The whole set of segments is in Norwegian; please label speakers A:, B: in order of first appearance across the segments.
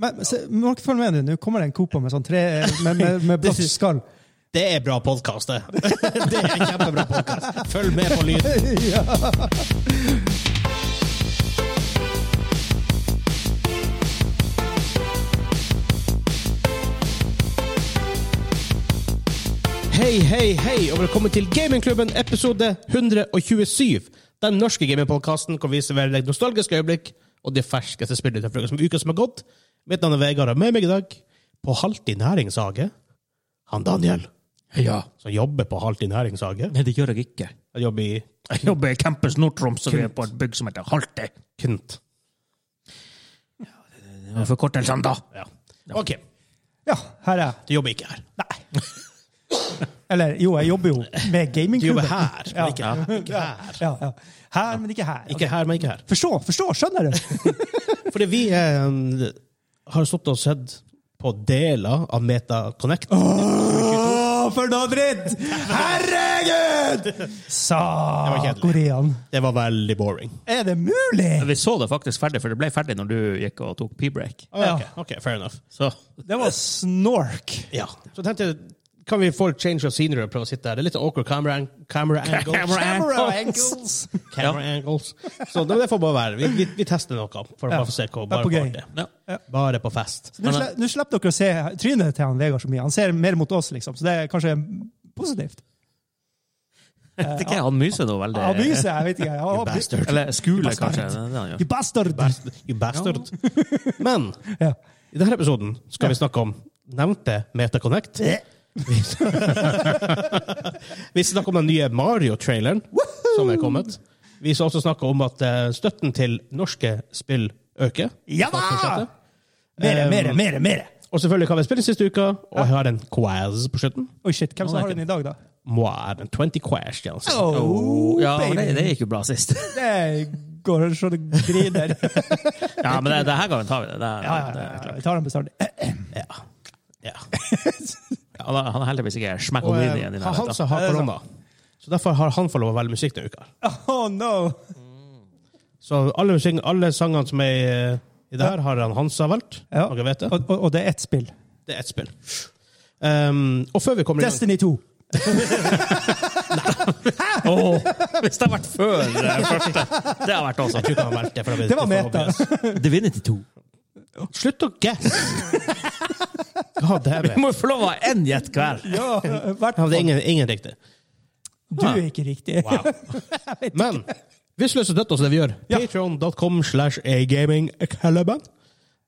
A: Men se, må dere følge med nå. Nå kommer det en Copa med sånn tre med, med, med blått skall.
B: Det er bra podkast, det. Det er kjempebra podkast. Følg med på lyden.
A: Ja.
B: Hei, hei, hei, og velkommen til Gamingklubben episode 127. Den norske gamingpodkasten hvor vi serverer deg nostalgiske øyeblikk og de ferskeste spillene fra uka som- uka som har gått. Mitt navn er Vegard, og med meg i dag, på Halvtid Næringshage, han Daniel,
C: Ja.
B: som jobber på Halvtid Næringshage.
C: Nei, det gjør jeg ikke.
B: Han jobber i
C: Jeg jobber i Campus Nord-Troms, og vi er på et bygg som heter Halte.
B: Kunt.
C: Det var forkortelsen, da.
B: Ja. OK,
A: ja, her er jeg.
B: du jobber ikke her. Nei,
A: Eller jo, jeg jobber jo med
B: du jobber
A: gamingklubben.
B: her, men ikke her. Ikke her,
A: Ja, ja. Her, men ikke her.
B: ikke her, men ikke her.
A: Forstå, forstå, skjønner du?
B: Fordi vi eh, har stått og sett på deler av Meta Connect.
A: Åh, for noe dritt! Herregud!
B: Det var
A: Sa
B: kjedelig.
A: Korean.
B: Det var veldig boring.
A: Er det mulig?
C: Vi så det faktisk ferdig, for det ble ferdig når du gikk og tok p-break.
B: Ah, ja, ok, ok, fair enough.
C: Så
A: Det var snork.
B: Ja. Så tenkte jeg, kan vi få et change of scenery og prøve å sitte der? Det er litt awkward camera, ang camera angles.
C: Camera
A: angles.
B: Camera angles. Så det, det får bare være. Vi, vi, vi tester noe for å
A: Ja.
B: bare få se
A: Det
B: hva
A: er
B: bare
A: på
B: på
A: gøy.
B: artig.
C: Ja.
B: Bare på fest.
A: Nå sle- nå slipper dere å se trynet til han Vegard så mye. Han ser mer mot oss, liksom. Så det er kanskje positivt.
C: det ikke han myser nå veldig.
A: Han myser, jeg vet ikke. Han-
B: Bastard.
C: Eller skule, kanskje.
A: Bastard.
C: Det er det han gjør.
A: You bastard!
B: You bastard. Men
A: Ja.
B: i denne episoden skal vi snakke om nevnte MetaConnect. Vi snakker om den nye Mario-traileren som er kommet. Vi skal også snakke om at eh, støtten til norske spill øker.
A: Ja da! Mere, mere, mere, mere.
B: Og selvfølgelig kan vi spille siste uka, og jeg har en quiz på slutten.
A: Oi, shit. Hvem som har den i dag, da?
B: Moi, men 20 questions.
A: Oh,
C: Ja, det,
A: baby.
C: det gikk jo bra sist.
A: Det går så det griner.
C: Ja, men det, det her gangen tar vi det. det, er-
A: Ja, ja,
C: det
A: ja,
C: er klart.
A: ja. Vi tar den bestandig.
B: Ja. ja.
C: Han har- han har heldigvis ikke smekk
B: Og
C: og
B: eh,
C: vinn igjen i
B: han
C: nærheten.
B: som har korona. Så derfor har han fått lov å velge musikk denne uka.
A: Oh no!
B: Så alle, musikk- alle sangene som er i- i det her, har han Hansa valgt.
A: Ja.
B: Dere vet det.
A: Og, og, og det er ett spill.
B: Det er ett spill. Um, og før vi kommer i gang
A: Destiny 2.
C: Åh, hvis det har vært før det første Det har vært også.
B: Jeg tror ikke han har valgt det, for da blir
A: Det var
B: for
A: meta.
B: obvious.
C: Divinity 2.
B: Slutt å guess! God damn
C: Vi
B: it.
C: må jo få lov å ha én gjett hver.
A: Ja, hvert
B: Han
A: fall.
B: hadde ingen, ingen riktig.
A: Du er ikke riktig.
B: Wow. Men hvis du har lyst til å støtte oss, i det vi gjør,
A: Ja.
B: patreon.com slash agamingklubben.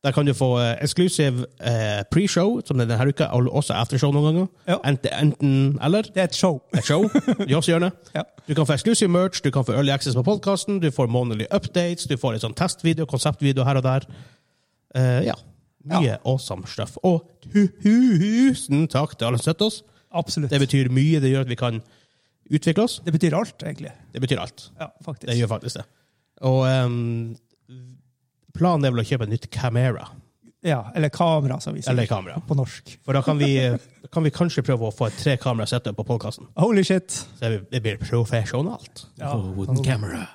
B: Der kan du få eh, exclusive eh, pre-show, som det er denne uka, og også aftershow noen ganger.
A: Ja.
B: Enten, enten eller.
A: Det er et show.
B: Et show i oss hjørne.
A: Ja.
B: Du kan få exclusive merch, du kan få early access på podkasten, du får månedlige updates, du får litt sånn testvideo, konseptvideo her og der. Eh, ja. Mye awesome stuff. Og tu- tusen takk til alle som støtter oss.
A: Absolutt.
B: Det betyr mye. Det gjør at vi kan utvikle oss.
A: Det betyr alt, egentlig.
B: Det betyr alt.
A: Ja, faktisk.
B: Det gjør faktisk det. Og ehm, planen er vel å kjøpe et nytt camera.
A: Ja, eller kamera, som vi sier
B: Eller kamera.
A: på norsk.
B: For da kan vi, da kan vi kanskje prøve å få et tre kamera setup på podkasten.
A: Holy shit!
B: Så det blir- det blir profesjonalt.
A: Ja.
C: Oh, wooden camera.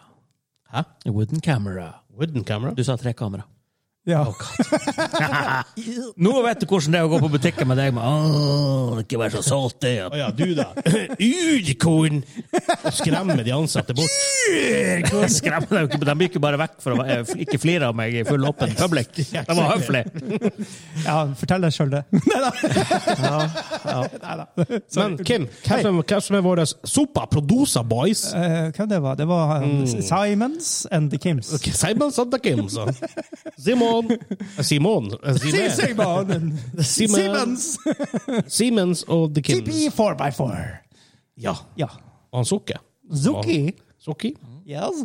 B: Hæ?
C: A wooden camera.
B: Wooden camera?
C: Du sa tre kamera.
A: Ja.
B: Oh,
C: Nå vet du hvordan det er å gå på butikken med deg. Med, «Åh, ikke vær så salty.
B: Å ja, du da. Udkorn! Og skremme de ansatte bort.
C: Jeg skremmer dem ikke, De gikk jo bare vekk for å eh, ikke flire av meg i full åpen public. De var høflige.
A: ja, fortell deg sjøl det. Nei da.
B: Men Kim, hvem som, hvem som er vår sopa producer boys?
A: Hvem Eh, det var? Det var um, Simons and the Kims.
B: Simon Santa sånn Kim, så. Simon Eh, Simon.
A: Si-
B: Simon.
A: Simon. Simons!
B: Siemens og The Kims.
A: TP 4x4.
B: Ja.
A: Ja.
B: Og han Sukke.
A: Zuki.
B: Suki?
A: Yes.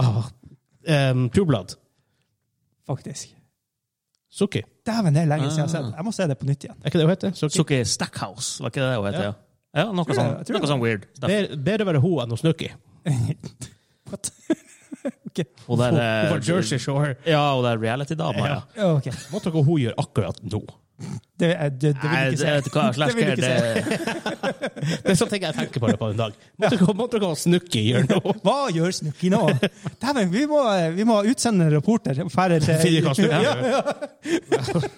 B: Ah. Um, True Blood.
A: Faktisk. Ah.
B: Suki.
A: Dæven, det er lenge siden jeg har sett. Jeg må se det på nytt igjen.
B: Er ikke det hun heter? Suki?
C: Sukki Stackhouse, var ikke det hun het? Ja. Ja, noe sånn,
A: jeg tror det.
C: noe sånn weird. stuff.
B: Bedre bedre være hun enn hun Snooki.
A: What? OK.
C: Hun der,
B: Hun
C: eh,
B: var Jersey Shore.
C: ja, hun der reality-dama. Ja.
A: Ja, ok.
B: Måtte ikke hun gjøre akkurat nå.
A: Det, er- det, det vil
C: Nei,
A: jeg
C: det,
A: ikke si.
C: vet du hva,
A: Det vil jeg ikke
C: Slasker, det,
B: Det er sånne ting jeg tenker på det på en dag. Måtte gå- måtte gå og snukke i hjørnet.
A: Hva gjør Snooki nå? Dæven, vi, må- eh, vi må utsende en reporter. Færre til
B: Fire kast ut.
A: Ja, ja,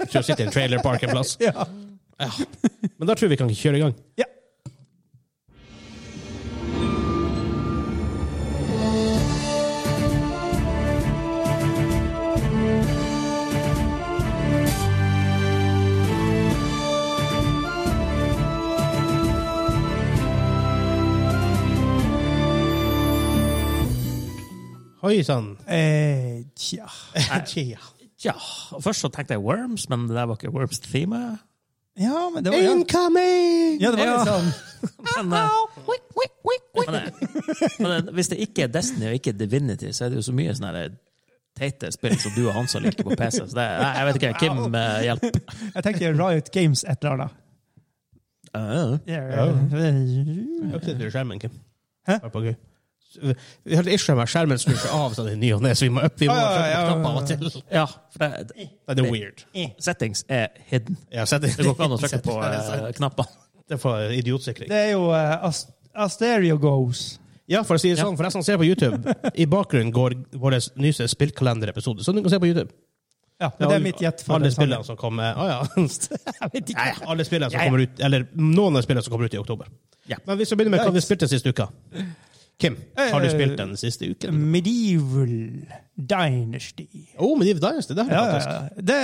B: Kjøre sitte i en trailerpark en plass.
A: ja.
B: Men da tror jeg vi kan kjøre i gang.
A: ja.
B: Oi sann.
A: Eh, tja.
B: Tja.
C: ja, først så tenkte jeg Worms, men det der var ikke Worms-teamet.
A: ja, men det var ja.
B: Incoming!
A: ja, det var litt
C: Ja.
A: sånn
C: Men, eh, men, eh, men eh, hvis det ikke er Destiny og ikke Divinity, så er det jo så mye sånne her teite spill som du og Hansa liker på PC. Så det, er- nei, jeg vet ikke. Kim, eh, hjelp.
A: Jeg tenkte Riot Games et eller annet. Ja.
B: Oppsett du skjermen, Kim.
A: Hæ?
B: Bare på gøy. Vi har et issue med at skjermen snur seg av sånn i ny og ne, så vi må opp vi må
A: Ja, ja,
B: trykke på
A: ja,
B: knappen av og
A: ja.
B: til.
C: Ja, for det, det,
B: Nei, Det er weird.
C: settings er hidden.
B: Ja, så det,
C: Det går ikke an å trykke på eh, knappene.
B: Det er for idiotsikring.
A: Det er jo eh, Ast Asterio Goes.
B: Ja, for å si det sånn, for jeg som ser på YouTube, i bakgrunnen går vår nyeste spillkalenderepisode, som du kan se på YouTube.
A: Ja, men det er mitt gjett. for
B: Alle
A: det, sånn.
B: spillene som kommer Å ja. Jeg vet ikke. Nei, alle spillene som
C: Ja, ja.
B: kommer ut, eller noen av spillene som kommer ut i oktober.
C: Ja.
B: Men vi skal begynne med hva vi spilte siste uka. Kim, har du
A: Eh,
B: spilt den siste uken?
A: Medieval Dynasty.
B: Oh, Medieval Dynasty, det har
A: Ja,
B: jeg
A: ja,
B: faktisk.
A: ja. Det,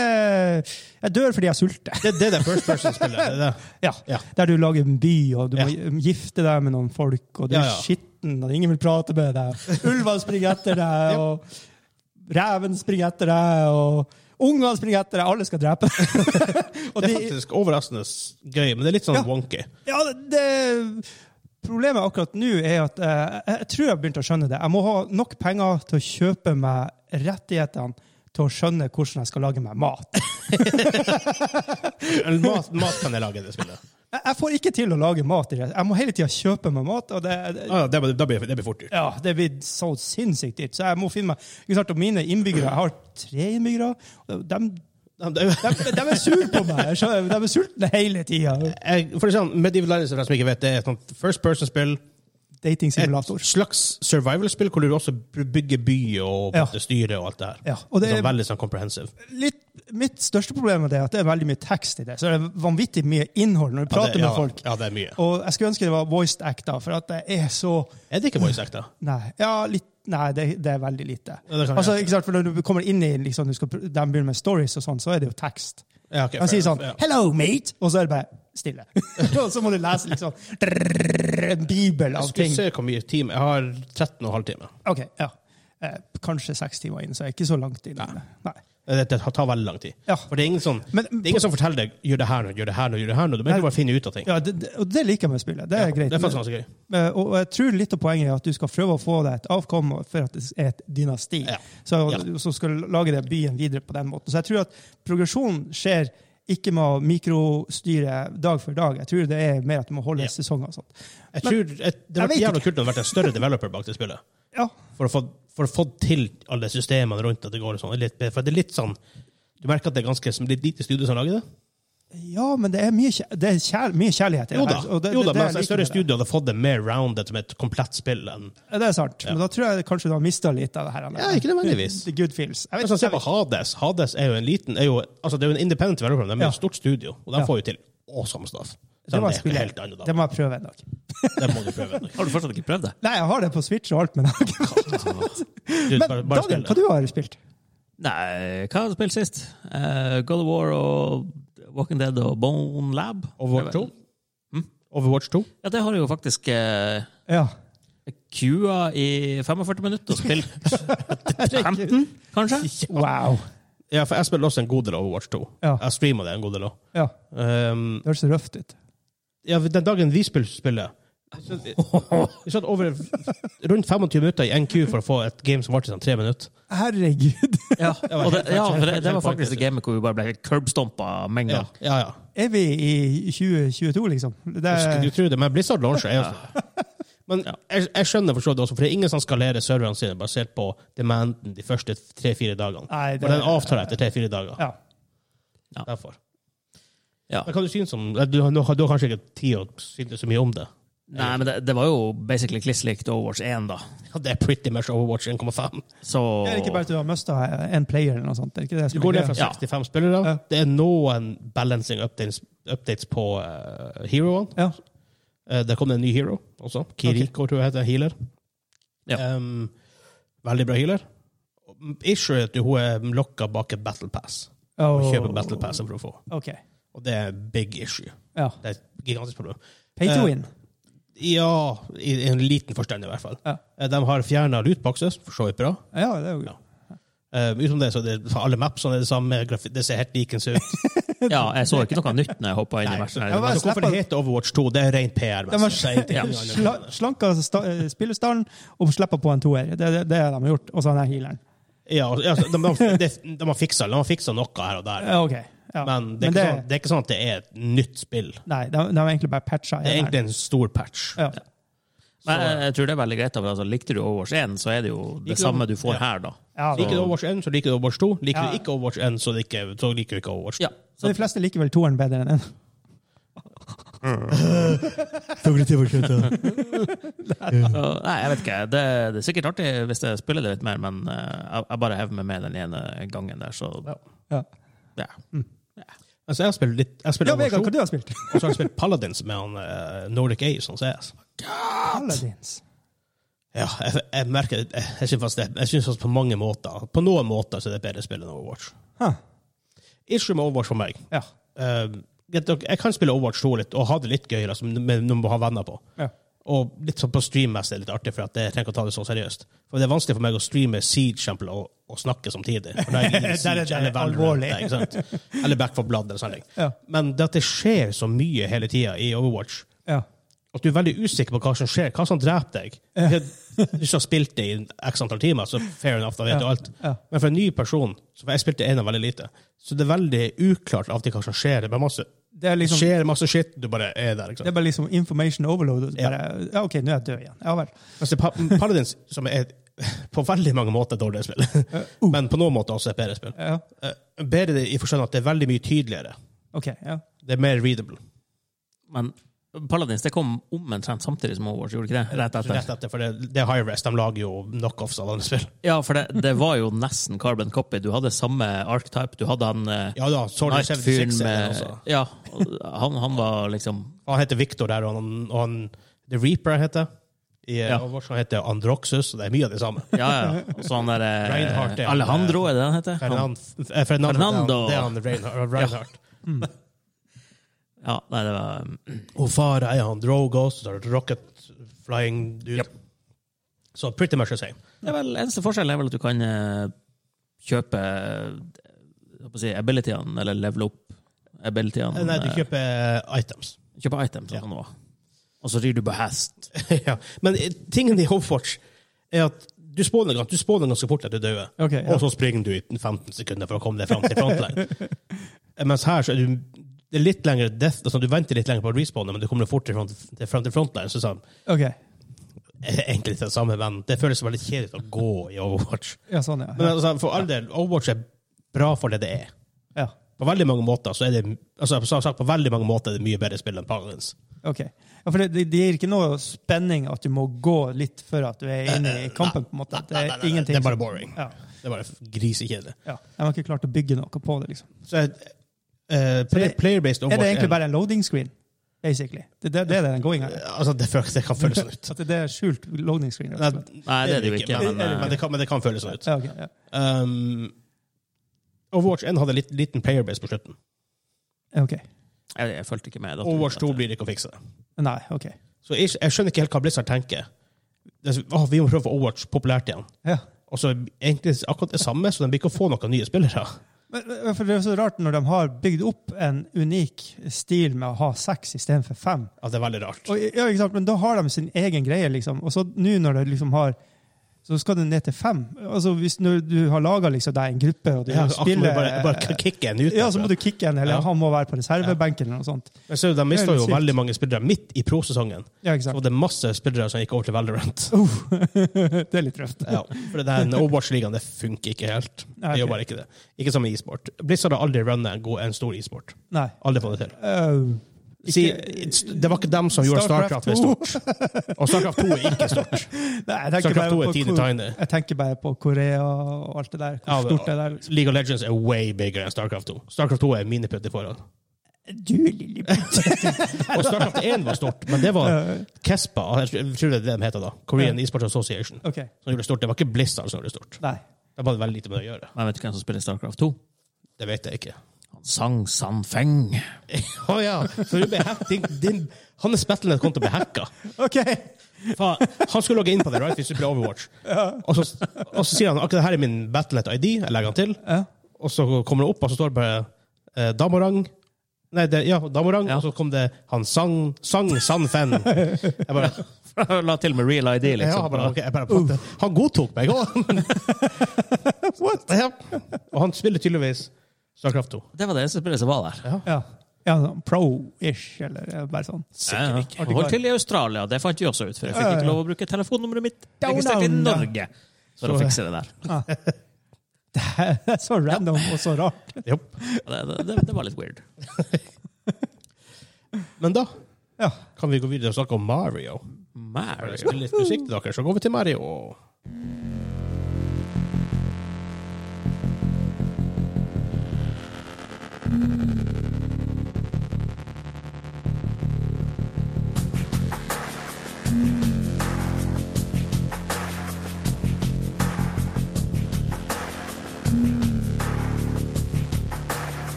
A: jeg dør fordi jeg sulter.
B: Det, det er det first person-spillet. det er det.
A: Ja.
B: Ja.
A: Der du lager en by, og du må gifte deg med noen folk, og du
B: Ja,
A: er
B: ja.
A: skitten, og ingen vil prate med deg. Ulvene springer etter deg, og reven springer etter deg, og ungene springer etter deg. Alle skal drepe deg. Og
B: Det er
A: de-
B: faktisk overraskende s- gøy, men det er litt sånn
A: Ja.
B: wonky.
A: Ja, det Problemet akkurat nå er at eh, jeg, jeg tror jeg har begynt å skjønne det. Jeg må ha nok penger til å kjøpe meg rettighetene til å skjønne hvordan jeg skal lage meg mat. Jeg,
B: Men Mat, mat kan jeg lage i det spillet.
A: jeg får ikke til å lage mat. i det. Jeg må hele tida kjøpe meg mat. og det, det
B: Ah, det, det, blir, det blir fort gjort.
A: Ja, det blir så sinnssykt dyrt. Så jeg må finne meg ikke sant, og Mine innbyggere Jeg har tre innbyggere. og De,
B: Ja, det-
A: de, de er sure på meg! Jeg skjønner, De er sultne hele tida.
B: Jeg- For å si sånn, Medieval Dynasty, for deg som ikke vet, det er et sånt first person-spill. Et
A: Datingsimulator.
B: slags survival-spill hvor du også bygger by og
A: Ja.
B: måtte styre og alt det her.
A: Ja, og det
B: sånn,
A: er
B: veldig sånn comprehensive.
A: litt, mitt største problem med det er at det er veldig mye tekst i det. Så det er vanvittig mye innhold når du
B: Ja,
A: prater
B: det, ja,
A: med folk.
B: Ja, det er mye.
A: Og jeg skulle ønske det var voiced act, da, for at det er så
B: Er det ikke voice act, da?
A: Nei, ja, litt, nei det, det er veldig lite.
B: Ja, det kan jeg
A: altså,
B: gjøre.
A: ikke sant, for Når du kommer inn i liksom, du skal, pr- de begynner med stories, og sånn, så er det jo tekst.
B: Ja, ok,
A: Han
B: fair
A: sier sånn
B: enough,
A: 'Hello, mate', og så er det bare stille. og så må du lese liksom drrrr, en bibel
B: ja.
A: av
B: Jeg skal
A: ting.
B: se hvor mye time Jeg har 13 og en halv time.
A: Ok, ja. Eh, kanskje seks timer inn, så jeg er ikke så langt inn. Nei.
B: Det, det tar veldig lang tid.
A: Ja.
B: For det er ingen sånn
A: Men-
B: Det er ingen som forteller deg 'gjør det her nå', 'gjør det her nå', gjør det her nå. Du må egentlig bare finne ut av ting.
A: Ja, det, det- og det liker jeg med spillet. Det er greit.
B: Det er faktisk ganske gøy.
A: Eh, og, og jeg tror litt av poenget er at du skal prøve å få deg et avkom for at det er et dynasti.
B: Ja.
A: Så,
B: Ja.
A: så skal du lage det byen videre på den måten. Så jeg tror at progresjonen skjer ikke med å mikrostyre dag for dag. Jeg tror det er mer at du må holde
B: Ja.
A: sesonger og sånt.
B: Jeg tror, jeg, det
A: Jeg
B: hadde
A: vet
B: vært jævla kult om det hadde vært en større developer bak det spillet.
A: Ja,
B: For å få, for å få til alle systemene rundt at det går sånn. Litt, bedre. for det er litt sånn Du merker at det er ganske som litt lite studio som lager det?
A: Ja, men det er mye, kjær, det er kjær, mye kjærlighet. i det
B: Jo da,
A: her, og det,
B: jo
A: det-
B: da
A: det jeg
B: men altså, et
A: liker med
B: større
A: det.
B: studio hadde fått det mer rounded som et komplett spill enn
A: Ja, Det er sant. Men da tror jeg kanskje du har mista litt av det her.
B: Ja, ikke nødvendigvis.
A: The good feels. Jeg
B: Men
A: vet,
B: sånn, Se
A: jeg
B: på
A: vet,
B: Hades. Hades er jo en liten er jo, altså, Det er jo en independent developer, men de er
A: Ja.
B: jo et stort studio, og de
A: Ja.
B: får jo til awesome stuff.
A: det,
B: Selv
A: var
B: om det er
A: spillet.
B: noe helt annet,
A: det
B: da.
A: må jeg prøve en dag.
B: Det må du prøve. Henrik.
C: Har du fortsatt ikke prøvd det?
A: Nei, jeg har det på Switch og alt, men,
B: Du,
A: men
B: bare,
A: Daniel,
B: bare spill
A: hva
B: det.
A: du har spilt?
C: Nei, hva har du spilt sist? Eh, God of War og Walking Dead og Bone Lab.
B: Overwatch Hm? 2? Overwatch 2?
C: Ja, det har jeg jo faktisk eh,
A: Ja.
C: kua i 45 minutter og spilt 15, kanskje?
A: Wow.
B: Ja, for jeg spiller også en god del Overwatch 2.
A: Ja.
B: Jeg streamer det en god del òg.
A: Ja,
B: Um,
A: det høres røft ut.
B: ja, den dagen vi spiller spillet så- Vi satt over rundt 25 minutter i NQ for å få et game som varte i sånn tre minutter.
A: Herregud.
C: Ja, og det, ja for det, det var faktisk det
B: Kjempe-
C: gamet hvor vi bare ble curbstompa med en
B: Ja,
C: gang.
B: ja, ja.
A: Er vi i 2022, liksom? Det
B: Skulle
A: er,
B: du tro det, men Blizzard launcher er jo sånn. Men jeg, jeg skjønner for så vidt også, for det er ingen som skalerer serverne sine basert på demanden de første tre-fire dagene.
A: Nei, det-
B: For den avtar etter tre-fire dager.
A: ja.
B: Derfor.
C: Ja.
B: Men hva du synes om eh, Du har, du har kanskje ikke tid å synes så mye om det?
C: Nei, men det, det var jo basically kliss likt Overwatch 1, da.
B: Ja, det er pretty much Overwatch 1,5.
C: Så
A: Det er ikke bare at du har mista en player eller noe sånt. Det er ikke det
B: Du
A: som
B: går
A: er
B: ned fra
A: greia.
C: Ja.
B: 65 spillere.
A: Ja.
B: Det er noen balancing updates, updates på uh, heroene.
A: Ja.
B: Eh, det kom en ny hero også. Kiriko, tror jeg heter. Healer.
C: Ja.
B: Em, veldig bra healer. Issue er at hun er lokka bak et battle pass. Hun
A: Og
B: kjøper battle passen for å få.
A: OK.
B: Og det er big issue.
A: Ja.
B: Det er et gigantisk problem.
A: Pay to
B: Eh,
A: win.
B: Ja, i i en liten forstand i hvert fall.
A: Ja.
B: Eh, De har fjerna lootboxes, for så vidt bra.
A: Ja, det er jo
B: Ja. Eh, utenom det, så er det, alle mapsene er det samme, grafi- det ser helt likens ut.
C: Ja, jeg så ikke noe nytt når jeg hoppa inn i
B: Nei,
C: matchen.
A: Ja, hva-
C: her.
B: altså, hvorfor det heter Overwatch 2, det er rent
A: De har
B: PR-messig. Det er ingenting annet.
A: sla slanka sta- eh, spillestallen og slipper på en toer. Det er det, det de har gjort. Og så den her healeren.
B: Ja, altså, de, de, de, de, har fiksa, de har fiksa noe her og der.
A: Ja, OK. Ja.
B: Men det er, ikke sånn, det er ikke sånn at det er et nytt spill.
A: Nei, de, de har egentlig bare patcha.
B: Det er egentlig en stor patch.
A: ja.
C: Men jeg, jeg tror det er veldig greit. da, for Altså, likte du Overwatch 1, så er det jo det
B: Liker du-
C: samme du får
B: ja.
C: her, da.
A: Ja, da.
B: Liker du Overwatch 1, så liker du Overwatch 2. Liker
A: Ja.
B: du ikke Overwatch 1, så, liker, så liker du ikke Overwatch 2.
C: Ja.
A: Så de fleste liker vel toeren bedre enn den.
C: Så, nei, jeg vet ikke. Det, det er sikkert artig hvis jeg spiller det litt mer, men eh, jeg, jeg bare hever meg med den ene gangen der, så
A: Ja,
C: ja.
B: Altså, jeg spiller litt jeg spiller
A: ja Vegard, hva
B: Overwatch 2,
A: du har spilt?
B: og så har jeg spilt Paladins med han eh, Nordic Ace, han CS.
A: Paladins.
B: Ja, jeg, jeg merker jeg, jeg synes faktisk det. Jeg synes faktisk på mange måter På noen måter så er det bedre spill enn Overwatch.
A: Huh.
B: Issue med Overwatch for meg
A: Ja.
B: Eh, greit nok, Jeg kan spille Overwatch 2 litt og ha det litt gøy, liksom, men du må ha venner på.
A: ja.
B: Og litt sånn på streammessig er det litt artig, for at jeg trenger ikke å ta det så seriøst. For det er vanskelig for meg å streame Siege eksempel, og, og snakke samtidig. For da er jeg i
A: Der er
B: Siege,
A: det
B: eller Valorant,
A: alvorlig.
B: nei, ikke sant? Eller Back for Blood eller sånne ting.
A: Ja.
B: Men det at det skjer så mye hele tida i Overwatch,
A: ja.
B: at du er veldig usikker på hva som skjer, hva som dreper deg. Hvis du har spilt det i x antall timer, så fair enough, da vet du alt.
A: Ja.
B: Men for en ny person, så for jeg spilte en av veldig lite, så det er veldig uklart av og til hva som skjer. Det er bare masse,
A: Det er liksom
B: skjer masse shit, du bare er der.
A: det er
B: Ikke sant?
A: bare liksom information overload. og så Bare, ja, OK, nå er jeg død igjen. Ja vel.
B: Altså, Pa- Paladins, som er på veldig mange måter et dårligere spill,
C: Uh.
B: men på noen måter også et bedre spill.
A: Ja.
B: Eh, Bedre i forstand at det er veldig mye tydeligere.
A: OK. Ja.
B: Det er mer readable.
C: Men Paladins det kom omtrent samtidig som Overwatch, gjorde ikke det? Rett etter.
B: Rett etter, for det, det er high rest, de lager jo knockoffs av andre spill.
C: Ja, for det, det var jo nesten carbon copy. Du hadde samme archetype. Du hadde han eh,
B: Ja da, Sorry 76 er
C: Knight-fyren
B: det
C: med
B: eh, også.
C: Ja, og han, han var liksom
B: Han heter Victor der, og han, og han The Reaper heter i
C: Ja.
B: ja. Overwatch. Han heter Androxus, og det er mye av det samme.
C: Ja, ja. Og så han
B: Reinhardt,
C: derre
B: ja.
C: Alejandro, er det han heter? Han,
B: Fernan- eh, Fernando,
C: Fernando.
B: Det er han, det er han Reinhard- Reinhardt.
A: Mm.
C: ja, nei, det var mm,
B: Og fara er han Drogos, så er det Rocket Flying Dude.
C: Japp.
B: Så pretty much the same.
C: Det er vel Eneste forskjellen er vel at du kan eh, kjøpe eh, hva skal jeg si, abilityene, eller level up abilityene.
B: Nei, du
C: eh,
B: kjøper items.
C: kjøper items, sånn som det var. Og så rir du på hest.
B: ja. Men eh, tingen i Overwatch er at du spawner, gans- du spawner ganske fort at du dør,
A: Ok, ja.
B: og så springer du i 15 sekunder for å komme deg fram til frontline. Eh, Mens her så er du det er litt lengre death, altså du venter litt lenger på å respawne, men du kommer fort til front, til, fram til frontline. Så sånn,
A: OK.
B: eh, egentlig litt det samme, men det føles veldig kjedelig å gå i Overwatch.
A: Ja, sånn, ja.
B: Men
A: ja.
B: altså, for all del, Overwatch er bra for det det er.
A: ja.
B: På veldig mange måter så er det altså, som sagt, på veldig mange måter er det mye bedre spill enn Paladins.
A: OK. Ja, for det, det det gir ikke noe spenning at du må gå litt før at du er inne i kampen, på en måte. Det
B: Eh,
A: er
B: Nei, nei, nei, nei,
A: ingenting
B: det er bare
A: som-
B: boring.
A: Ja.
B: Det er bare grisekjedelig.
A: ja. De har ikke klart å bygge noe på det, liksom.
B: Så, eh, play,
A: det-
B: player-based
A: Er det
B: Overwatch
A: egentlig bare en loading screen, basically? Det, det, det er det den going er.
B: Altså, det, føles, det kan føles sånn ut.
A: At det er skjult loading screen. rett og slett.
C: Nei, det er det jo ikke,
B: Men,
C: men, eh,
B: men, det, kan, men det kan føles sånn ut.
A: Ja, ok, ja.
B: Um, Overwatch 1 hadde litt, liten player-base på slutten.
A: Ja, ok.
C: Jeg, jeg fulgte ikke med. da.
B: Overwatch 2 blir det ikke å fikse. det.
A: Nei, OK.
B: Så jeg, jeg skjønner ikke helt hva Blizzard tenker. Det er så- «Åh, vi må prøve å få Overwatch populært igjen.
A: Ja.
B: Og så egentlig akkurat det samme, så de blir ikke å få noen nye spillere.
A: Men, men- for det er så rart når de har bygd opp en unik stil med å ha seks istedenfor fem.
B: Ja, det er veldig rart.
A: Og, ja, ikke sant? Men da har de sin egen greie, liksom. Og så nå når de liksom har så skal du ned til fem. Altså, hvis når du har laga liksom, deg en gruppe og du
B: Ja, så Akme
A: spiller
B: bare, bare kicke en ut. altså.
A: ja, så må du kicke en, eller
B: Ja.
A: han må være på reservebenken eller noe sånt.
B: Men så de mista
A: Det er
B: jo
A: sykt.
B: veldig mange spillere midt i prosesongen.
A: Ja, ikke
B: Så
A: sant?
B: var det masse spillere som gikk over til Valorant.
A: Det er litt røft.
B: Ja, for det her Overwatch-ligaen det funker ikke helt.
A: Nei,
B: Det
A: ok.
B: gjør bare ikke det. Ikke som med e-sport. Blizzard har aldri runnet en, god, en stor e-sport.
A: Nei.
B: Aldri fått det til.
A: Øh,
B: Si,
A: ikke-
B: det var ikke dem som gjorde
A: Starcraft
B: Starcraft, til stort. Og Starcraft 2 er ikke stort.
A: Nei, jeg tenker
B: Starcraft 2
A: bare
B: er
A: på
B: teeny
A: hvor-
B: tiny.
A: Jeg tenker bare på Korea og alt det der. Hvor
B: Ja,
A: stort det der liksom.
B: League of Legends er way bigger enn Starcraft 2. Starcraft 2 er miniputt i forhold.
A: Du, lille
B: Og Starcraft 1 var stort, men det var Kespa, jeg tror det er det de heter da. Korean Esports Association.
A: OK.
B: Som gjorde det stort. Det var ikke Blizzard som gjorde det stort.
A: Nei.
B: Det var veldig lite med det å gjøre.
C: Men vet du hvem som spiller Starcraft 2?
B: Det vet jeg ikke.
C: Han sang San Feng.
B: Å ja! Så du ble hack- din, din, hans Battle.net konto ble hacka.
A: OK!
B: Faen, Han skulle logge inn på det right, hvis du ble Overwatch. Og, så, og så sier han akkurat det her er min Battle.net-ID, jeg legger han til.
A: Ja.
B: Og så kommer det opp, og så står det bare eh, Damorang. Nei, det, ja, Damorang.
C: Ja.
B: Og så kom det Han sang, sang Sanfen. Jeg bare,
C: La til med real ID,
B: ja,
C: liksom.
B: jeg bare, ok, jeg bare på en måte- Han godtok meg òg! Ja. Og han spiller tydeligvis Starcraft 2.
C: Det var det eneste spillet som var der.
A: Ja. ja sånn Pro-ish, eller eh, bare sånn.
C: Ja, ja. Og Holdt til i Australia, det fant vi også ut, for jeg fikk
A: Ja, ja.
C: ikke lov å bruke telefonnummeret mitt.
A: Down
C: Registrert i
A: under.
C: Norge. For å
A: Så-
C: fikse det der.
A: Det er så random og så rart.
B: Jo.
C: Det, det, det, det var litt weird.
B: Men da
A: Ja.
B: kan vi gå videre og snakke om Mario. Bare
C: Mario.
B: Spille litt musikk til dere, så går vi til Mario.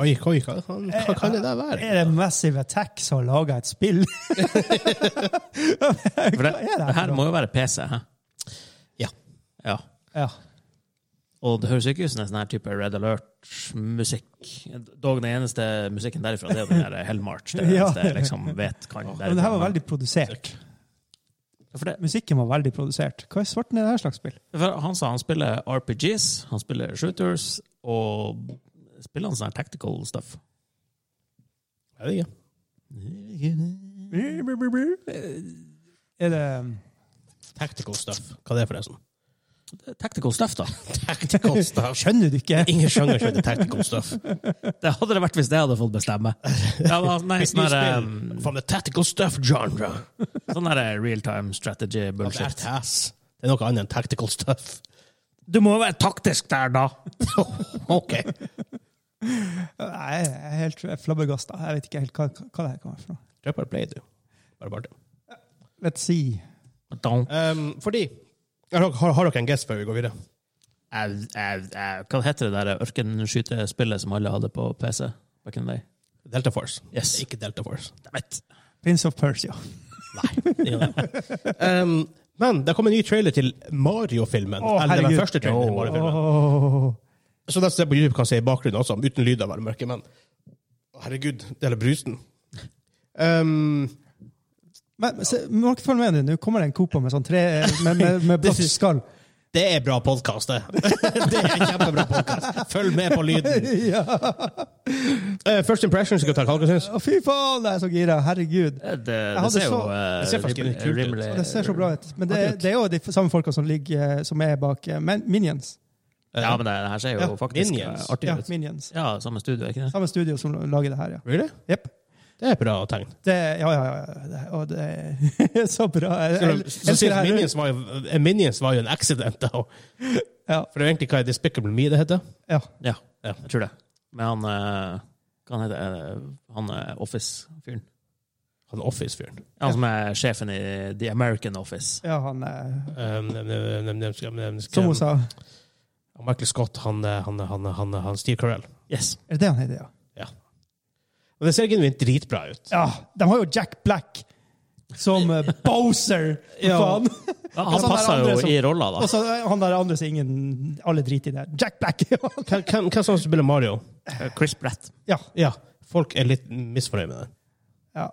B: Oi, oi, hva, hva,
A: Eh,
B: hva kan det der være?
A: Er det Massive Attack som har laga et spill? er det
C: For det,
A: her
C: det her
A: for
C: må jo være PC, hæ?
B: Ja.
C: Ja.
A: ja.
C: Og det høres jo ikke ut som en sånn her type Red Alert-musikk. Dog den eneste musikken derifra, det er den der Hellmarch. Det er det
A: Ja.
C: eneste jeg liksom vet kan
A: Men det her var veldig produsert.
C: For, det,
A: Musikken var veldig produsert. Hva er svarten i det her slags spill?
C: for han sa han spiller RPGs, han spiller shooters, og spiller han sånn her tactical stuff.
B: Jeg vet ikke.
A: Eh, Er det um,
B: Tactical stuff. Hva er det forresten?
C: Tactical stuff, da.
B: Tactical stuff.
A: Skjønner du ikke?
B: Ingen sjanger som heter tactical stuff.
C: Det hadde det vært hvis jeg hadde fått bestemme. Ja, men, nei, sånn her, um,
B: From the tactical stuff genre.
C: sånn her real time strategy
B: Det er
C: bullshit.
B: tass. Det er noe annet enn tactical stuff.
C: Du må være taktisk der, da!
B: OK.
A: Nei, jeg er helt flabbergasta. Jeg vet ikke helt hva, hva det her kan være for noe.
B: Drop or play, du. Bare bare det.
A: Let's see.
C: Don't.
B: Um, fordi har, har, har dere en guess før vi går videre?
C: Au, au, au. Eh, Hva heter det der ørkenskytespillet som alle hadde på PC? Back in the day?
B: Delta Force.
C: Yes.
B: Ikke Delta Force.
C: Dammit.
A: Prince of Persia.
B: Um, men det kom en ny trailer til Mario-filmen.
A: Å,
B: eller den
A: herregud.
B: første traileren til Mario-filmen.
A: Åh.
B: Så den ser på YouTube kan se i bakgrunnen også, uten lyd av mørke, men herregud, det er brusen. Um,
A: Men men se, må dere følge med nå. Nå kommer det en Copa med sånn tre med, med, med blått skall.
B: det er bra podkast, det. det er kjempebra podkast. Følg med på lyden.
A: Ja.
B: Eh, first impressions, skal vi ta hva dere syns?
A: Å, fy faen, jeg er så gira. Herregud.
C: Det, det,
A: hadde
C: ser jo
A: så-
C: eh,
B: det ser faktisk litt kult ut.
C: rimelig
A: Det ser så bra ut. Men det, det er jo de samme folka som, ligger, eh, som er bak eh, men, Minions.
C: Ja, men det, det her ser jo
B: Ja,
C: faktisk eh,
B: Minions.
C: artig
A: Ja,
C: ut.
A: Minions.
C: Ja, samme studio, er ikke det?
A: Samme studio som lager det her, ja.
B: Really?
A: Jepp.
B: Det er et bra tegn.
A: Det, ja, ja, ja. Det, og det er så bra. Jeg, jeg, jeg,
B: Så
A: elsker
B: sier
A: det her.
B: Minions var jo, eh, Minions var jo en accident, da.
A: Ja,
B: For det er jo egentlig hva er Despicable Me det heter.
A: ja.
C: Ja,
B: Ja.
C: jeg tror det. Med han eh, Hva han heter eh, Han eh, Office-fyren.
B: Han Office-fyren.
C: Han som er sjefen i The American Office.
A: ja, han eh,
B: Um, nem- nem- nem- nem- nem- nem-
A: Som hun sa.
B: Michael Scott, han, eh, han, han, han, han Steve Carell.
C: Yes.
A: Er det det han heter, ja?
B: Og det ser genuint dritbra ut.
A: Ja, de har jo Jack Black som eh, Bowser, for
B: Ja.
A: faen.
C: Ja,
A: Og
C: Altså, han
A: så han
C: passer
A: der andre
C: jo
A: som-
C: i rolla, da.
A: Og så eh, han der andre som ingen Alle driter i det. Jack Black!
B: Hvem- Hvem hvem som spiller Mario?
C: Eh, Chris Brett.
A: ja.
B: Ja, folk er litt misfornøyd med den.
A: ja.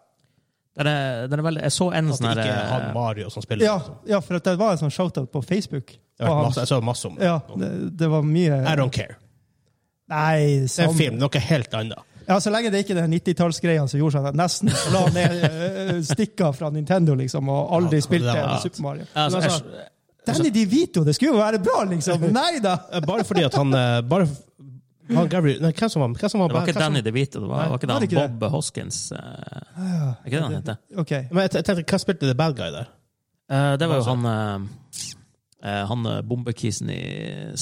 C: Den er, den er veldig, jeg så en
B: At
C: sånn
B: det
C: her
B: ikke er han
C: eh,
B: Mario som spiller.
A: Ja,
B: liksom.
A: ja, for at det var en sånn shoutout på Facebook.
B: Det har vært
A: Og han-
B: masse, jeg så masse om det.
A: Ja, det, det var mye
B: I don't care.
A: Nei,
B: Det er en
A: samme.
B: film. Noe helt annet.
A: Ja, Så lenge det ikke er den 90-tallsgreia som gjorde seg at nesten la ned eh, stikka fra Nintendo, liksom, og aldri
B: Ja,
A: spilte
B: det var-
A: Super Mario.
C: Ja, altså,
B: Men altså,
C: jeg-
A: Danny DeVito, det skulle jo være bra, liksom! Nei da!
B: Eh, Bare fordi at han eh, bare, f- han Gabriel, nei, hvem som var, hvem som var
C: Det var ikke
B: hvem som-
C: Danny DeVito, det var, det var ikke
A: var det
C: den
A: ikke det?
C: Bob Hoskins. eh, Er ikke det han heter?
A: OK.
B: Men jeg te- tenkte, Hvem spilte The Bad Guy der?
C: Eh, Det var jo han eh, eh, Han eh, bombekisen i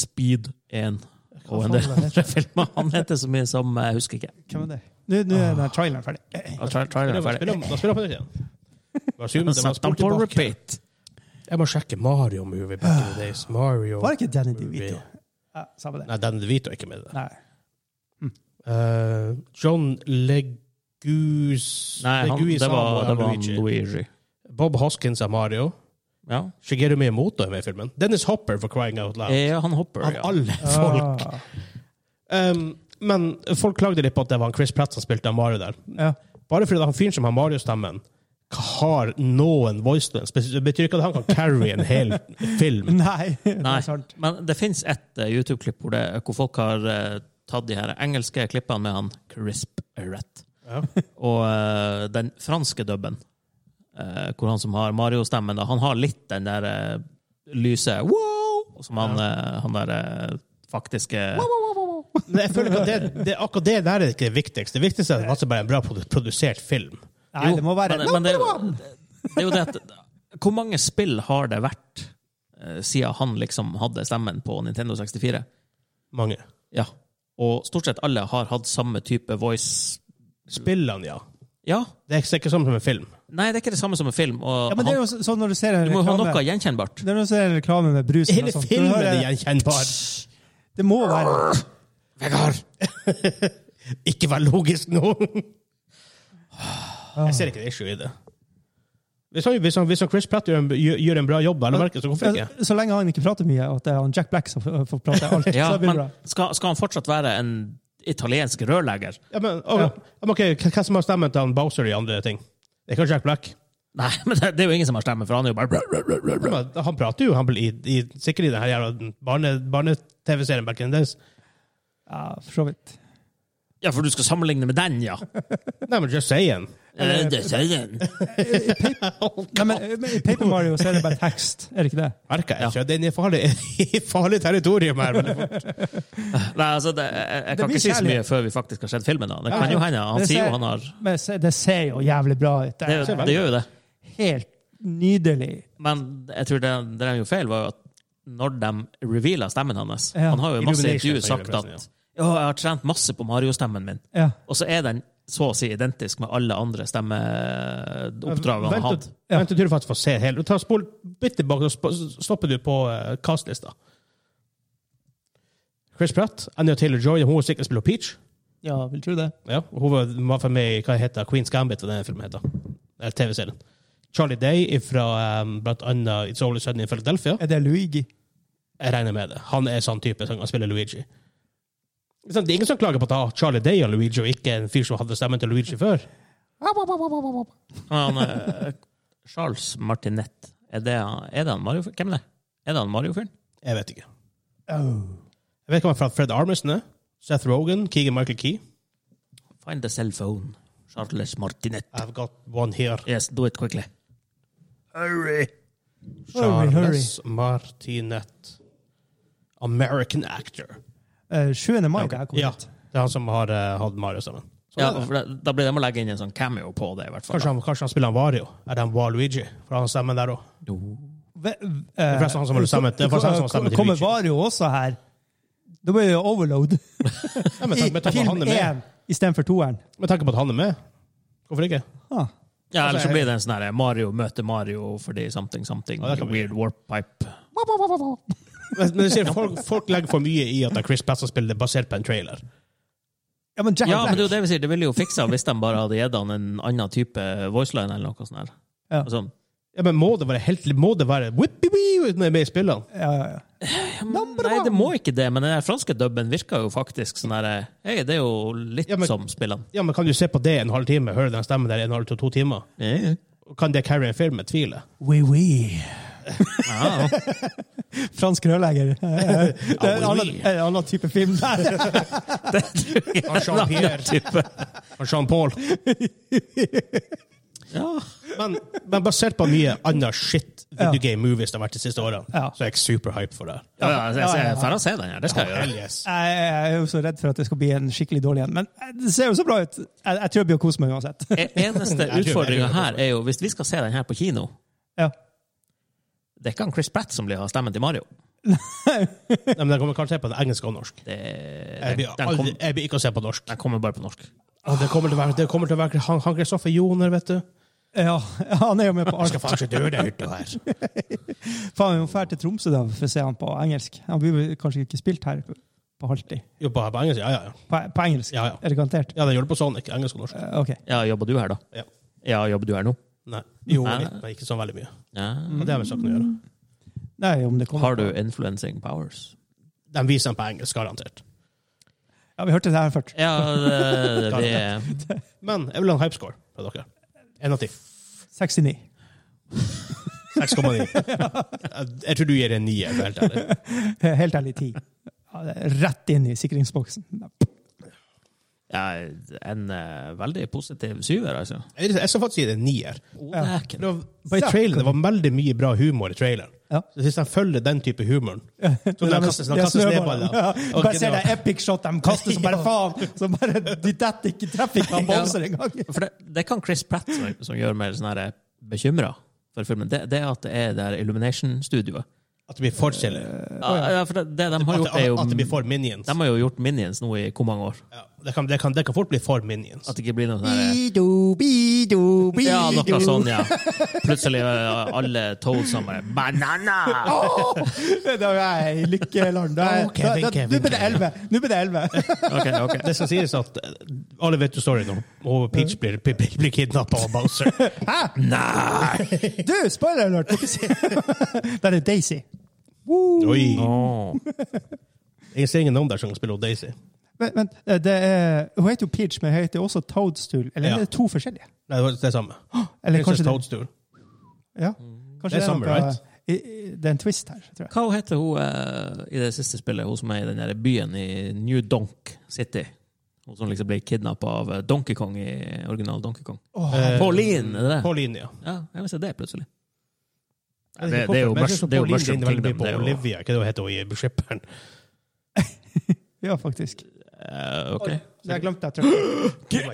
C: Speed 1 og en del andre filmer. Han heter så mye som eh, jeg husker ikke.
A: Hvem er det? Nå, nå er den traileren ferdig. Eh,
C: Og tra- traileren
B: Da
C: er ferdig.
B: spiller han på nytt igjen. Bare zoom, det var
C: Satt han
B: spurt
C: på
B: tilbake.
C: repeat?
B: Jeg må sjekke Mario-movie. back in the days. Mario
A: Var det ikke Danny DeVito? Ja, samme det.
B: Nei, Danny DeVito er ikke med i det.
A: Nei.
B: Eh, John Leguiz
C: Nei, han, det var, det var han Luigi.
B: Bob Hoskins er Mario.
C: Ja,
B: Shigeru Miyamoto er med i filmen. Dennis Hopper for crying out loud.
C: Eh, han hopper.
B: Av
C: Ja.
B: alle folk!
A: Ah,
B: Um, men folk klagde litt på at det var han Chris Pratt som spilte han Mario der.
A: ja.
B: Bare fordi det er han fyren som har Mario-stemmen, har noen voicelines. Det betyr ikke at han kan carry en hel film.
A: Nei, det
C: Nei,
A: er sant.
C: men det fins ett eh, YouTube-klipp hvor, det- hvor folk har eh, tatt de her engelske klippene med han Crisp Rett.
B: Ja.
C: Og eh, den franske dubben, eh, hvor han som har Mario-stemmen, da, han har litt den der eh, lyse wow, som han, eh, han der eh, faktiske
B: Men jeg føler ikke at det, det, akkurat det der er ikke det viktigste. Det viktigste er at det altså bare er en bra produ- produsert film.
A: Nei, det må være
C: Men, men det, er jo- det er jo det at Hvor mange spill har det vært eh, siden han liksom hadde stemmen på Nintendo 64?
B: Mange.
C: Ja. Og stort sett alle har hatt samme type voice.
B: Spillene, ja.
C: Ja.
B: Det er ikke sånn som en film.
C: Nei, det er ikke det samme som en film. Og
A: Ja, men det er jo så- sånn når du ser en
C: han, du må jo ha noe
A: reklame
C: gjenkjennbart.
A: Det er når du ser en reklame med brus eller
B: Hele
A: noe sånt. Når
B: filmen
A: du
B: er sånn,
A: hører-
B: gjenkjennbar.
A: Det må være
B: Vegard! ikke vær logisk nå! Jeg ser ikke det issue i det. Hvis han, hvis han, hvis han Chris Pratt gjør en, gjør gjør en bra jobb, eller merker, så hvorfor ikke?
A: Altså, Så lenge han ikke prater mye, og at det er han Jack Black som får får prate alt,
C: Ja,
A: så blir det
C: men
A: bra.
C: skal, skal han fortsatt være en italiensk rørlegger?
B: Ja, men, å, ja. men ok, hva- Hva som har stemmen til han Bowser i andre ting? Det er ikke Jack Black.
C: Nei, men det, det er jo ingen som har stemme, for han er jo bare
B: Ja, men Han prater jo han blir i, i, sikkert i den her jævla barne- barne-TV-serien back in the days.
A: Ja, for så vidt.
C: Ja, for du skal sammenligne med den, ja!
B: Nei, men just saying.
C: Eh, det sier den.
A: Nei, men men i Paper Mario så er det bare tekst, er det ikke det?
B: Merker jeg
C: Ja.
B: ikke? Det er i farlig, i farlig territorium her. Men det,
C: Nei, altså, det, jeg, jeg
A: Det
C: kan
A: blir
C: ikke si så
A: kjærlighet.
C: mye før vi faktisk har sett filmen. da. Det kan jo hende. Han
A: Det
C: sier
A: ser-
C: jo han har Det,
A: Men se- det ser jo jævlig bra ut. Det
C: er jo-
A: er
C: det gjør jo det.
A: helt nydelig.
C: Men jeg tror det, det er jo feil, var jo at når de reveala stemmen hans
A: Ja.
C: Han har jo i masse
B: Illumination,
C: intervjuer
B: sier
C: sagt
B: det,
C: at ja, jeg har trent masse på Mario-stemmen min.
A: Ja.
C: Og så er den så å si identisk med alle andre stemmeoppdragene han
B: vent,
C: har hatt.
B: ja. vent til du faktisk får se hele. Ta Spol bitt tilbake, og sp- stopper du på uh, castlista. Chris Pratt, Anya Taylor-Joy, hun er sikkert spiller Peach.
A: ja, vil tro det.
B: Ja, hun var var for meg i hva heter det, Queen's Gambit, hva den filmen heter. Eller TV-serien. Charlie Day fra um, blant annet It's Always Sunny in Philadelphia.
A: Er det Luigi?
B: Jeg regner med det. Han er sånn type som kan spille Luigi. Sånn, Det er ingen som klager på at ah, Charlie Day og Luigi, og ikke en fyr som hadde stemmen til Luigi før.
C: Han, eh, Charles Martinet, er det, er det han Mario? Hvem er det? Er det han Mario-fyren?
B: Jeg vet ikke.
A: Oh.
B: Jeg vet ikke om han er fra Fred Armisen, er. Seth Rogen, Keegan Michael Key.
C: Find the cell phone. Charles Martinet.
B: I've got one here.
C: Yes, do it quickly.
B: Hurry!
A: Hurry, hurry.
B: Charles Martinet. American actor.
A: Eh, 7. mai, det her kommer
B: Ja,
A: ut.
B: det er han som har eh, hatt Mario sammen. Så
C: Ja,
B: er det.
C: for da- da blir det med å legge inn en sånn cameo på det, i hvert fall.
B: Kanskje han, kanskje han spiller han Wario? Er det han Waluigi? For han har stemmen der òg.
A: Ve- eh,
B: forresten han som var sammen- det er forresten han som var sammen til
A: Kommer
B: Luigi.
A: Vario også her? Da blir det jo overload.
B: Ja, men
A: I
B: tanke, med, tanke på at
A: film
B: han er med,
A: én istedenfor toeren.
B: med tanke på at han er med, hvorfor ikke?
A: Ah.
C: Ja, eller
B: Altså,
C: så blir det en sånn her Mario møter Mario fordi something, something.
B: Ja, det kan bli.
C: weird warp pipe.
B: Men, men du sier, folk, folk legger for mye i at det er Chris Pratt som spiller det basert på en trailer.
A: Ja, men Jack
C: Ja, men
A: Black.
C: det er jo det vi sier. Det ville jo fiksa hvis de bare hadde gitt han en annen type voiceline eller noe sånt. her.
A: Ja.
C: Altså,
B: Ja, men må det være helt, må det være whippy-wee med i spillene?
A: Ja, ja, ja.
C: ja, men, nei, det må ikke det, men den der franske dubben virker jo faktisk sånn her eh, Det er jo litt
B: Ja, men-
C: som spillene.
B: Ja, men kan du se på det en halv time? Høre den stemmen der en halv til to timer? Kan det carry en film? Jeg tviler.
A: Oui, oui.
C: Ja,
A: Fransk rørlegger. Eh, Det er en
B: Ah, oui,
A: annen,
B: oui.
A: en annen type film der.
C: det tror jeg er en
B: Jean-Pierre.
C: annen type.
B: Og Jean-Paul.
C: Ja.
B: Men, men basert på mye annet shit video game movies det har vært de siste årene,
A: Ja.
B: så er jeg superhyped for det.
C: Ja, ja, jeg, jeg,
A: Ja, ja, ja.
C: jeg drar og ser den her. Det skal jeg
B: Hell
C: gjøre.
B: yes.
A: Jeg jeg er jo så redd for at det skal bli en skikkelig dårlig en, men eh, det ser jo så bra ut. Jeg, jeg tror jeg blir å kose meg uansett.
C: E- Eneste
B: jeg
C: utfordringa
B: gjør det.
C: her er jo hvis vi skal se den her på kino
A: Ja.
C: Det er ikke han Chris Pratt som blir ha stemmen til Mario.
B: Nei, men jeg kommer kanskje til å se på det engelsk og norsk.
C: Det,
B: Jeg
C: den,
B: blir,
C: den, kom,
B: Eh, aldri, jeg blir ikke å se på norsk.
C: den kommer bare på norsk.
B: Og det kommer til å være, det kommer til å være han, han Kristoffer Joner, vet du.
A: ja, han er jo med på
B: Jeg
A: alt.
B: skal faen ikke dø det hytta her.
A: Faen, vi må dra til Tromsø da, for å se han på engelsk. Han blir vel kanskje ikke spilt her på halvtid.
B: Jo, på, på engelsk, ja, ja, ja.
A: På, på engelsk,
B: Ja, ja.
A: er det garantert?
B: Ja, den gjør det på Sonic, engelsk og norsk.
A: Eh, OK.
C: Ja, jobber du her, da?
B: Ja.
C: Ja, jobber du her nå?
B: Nei. Jo,
C: Nei.
B: litt, men ikke sånn veldig mye.
C: Ja.
B: Og det har vi sagt å gjøre.
A: Nei, om det kommer.
C: Har du influencing powers?
B: De viser den på engelsk, garantert.
A: Ja, vi hørte det her først.
C: Ja, det, det,
B: Men jeg vil ha en hypescore fra dere. En av ti.
A: 69.
B: 6,9. Jeg tror du gir en nier, for helt ærlig.
A: Eh, Helt ærlig, 10. Ja, det er rett inn i sikringsboksen.
C: ja, en eh, veldig positiv syver, altså.
B: Jeg jeg skal faktisk gi det en nier.
C: Å,
A: Ja.
B: Det
C: dæken.
B: var, bare i traileren, det var veldig mye bra humor i traileren.
A: Ja.
B: Så Hvis de følger den type humoren Så de kastes, de
A: Det er
B: kastes ned
A: snøballer.
B: baller.
A: Ja.
B: Ok,
A: Bare se
B: det var-
A: det epic shot de kaster som bare faen! Så bare, De detter ikke i trafikken av Bowser engang!
C: For det, det kan Chris Pratt som, som gjør meg sånn her bekymra for filmen. Det, det er at det er det her Illumination-studioet.
B: At det blir for silly.
C: Ja, ja, for det, det de har
B: At,
C: gjort, er
B: det- at det blir
C: jo
B: for minions.
C: De har jo gjort Minions nå i hvor mange år?
B: Ja, det, kan, det, kan, det kan fort bli for minions.
C: At det ikke blir noe sånn her-
A: Bido, bido, bido.
C: Ja, noe sånn, ja. Plutselig er alle Toads som bare Banana!
A: Da er jeg i lykkeland. Da er-
B: Å, Kevin,
A: da- da-
B: Kevin,
A: Nå blir det 11! Nå blir det 11.
C: Ok, ok.
B: Det skal sies at eh, alle vet jo storyen om og Peach blir, blir, blir kidnappa av Bowser.
C: Nei!
A: Du, spoiler alert! Dere ser- Der er Daisy.
B: Oi.
C: Åh.
B: Jeg ser ingen navn der som kan spille Daisy.
A: Men, men eh, det er, hun heter jo Peach, men hun heter også Toadstool. Eller
B: Ja.
A: er det to forskjellige?
B: Nei, det var det samme.
A: Eller kanskje
B: Princess
A: det,
B: Toadstool.
A: ja. kanskje
B: Det er
A: det er
B: samme,
A: noe
B: right?
A: i- i- Det er en twist her, tror jeg.
C: Hva heter hun eh, i det siste spillet, hun som er i den der byen i New Donk City? Hun som liksom ble kidnappa av eh, Donkey Kong i original Donkey Kong.
B: Eh,
C: Pauline, er det det?
B: Pauline, ja.
C: Ja, jeg vil se det plutselig.
B: Jeg vet
C: Det-
B: ikke
C: det er jo
B: hvorfor, men jeg synes
C: Mush- det er jo
B: Pauline
C: Mushroom
B: ligner veldig
C: Kingdom,
B: på
C: det er jo-
B: Olivia, ikke det hun heter hun i Shipperen.
A: Ja, faktisk.
C: Eh, ok.
A: Jeg glemte det. jeg tror.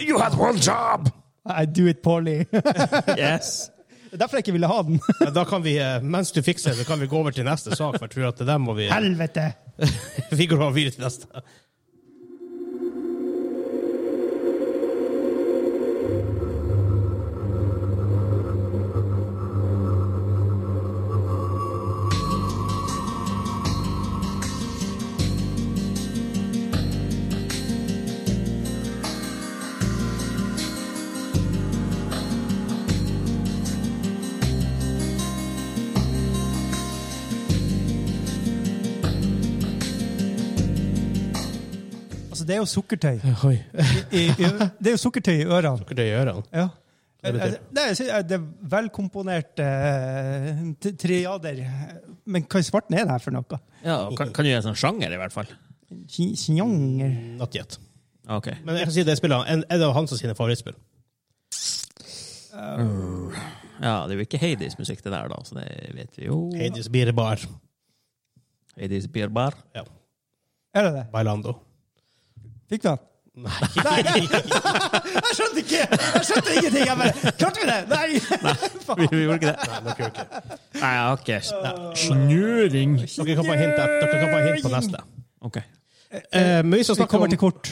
C: You had one job!
A: I do it poorly. Det
C: Yes.
A: er Derfor jeg ikke ville ha den.
B: Ja, da kan vi, eh, mens du fikser det, så kan vi gå over til neste sak, for jeg tror at det der må vi
A: Helvete!
B: Vi går over videre til neste.
A: Altså, det er jo sukkertøy.
B: Oi.
A: I, i, det er jo sukkertøy i ørene.
B: Hva det gjør han?
A: Ja. Eh,
B: Hva betyr det?
A: Nei, jeg sier, det er velkomponerte eh, t- triader. Men hva i svarten er det her for noe?
C: Ja, kan, kan du gi en sånn sjanger, i hvert fall?
A: Chi- Chianger
B: Not yet.
C: Ok.
B: Men jeg kan si det spillet, en, en av hans sine favorittspill.
C: Ja, det er jo ikke Hades musikk, det der, da, så det vet vi jo.
B: Hades Beer Bar.
C: Hades Beer Bar.
B: Ja.
A: Er det det?
B: Bailando.
A: Fikk du den? Nei! Jeg skjønte ikke! Jeg skjønte ingenting! Jeg bare Klarte vi det? Nei!
C: Vi, vi gjorde ikke det.
B: Nei, dere gjør ikke det.
C: Nei, jeg har ikke Snøring.
B: Dere kan få hint, et- dere kan få hint på neste.
C: Ok.
B: Eh, men vi skal
A: Vi
B: snakke
A: kommer
B: om,
A: til kort.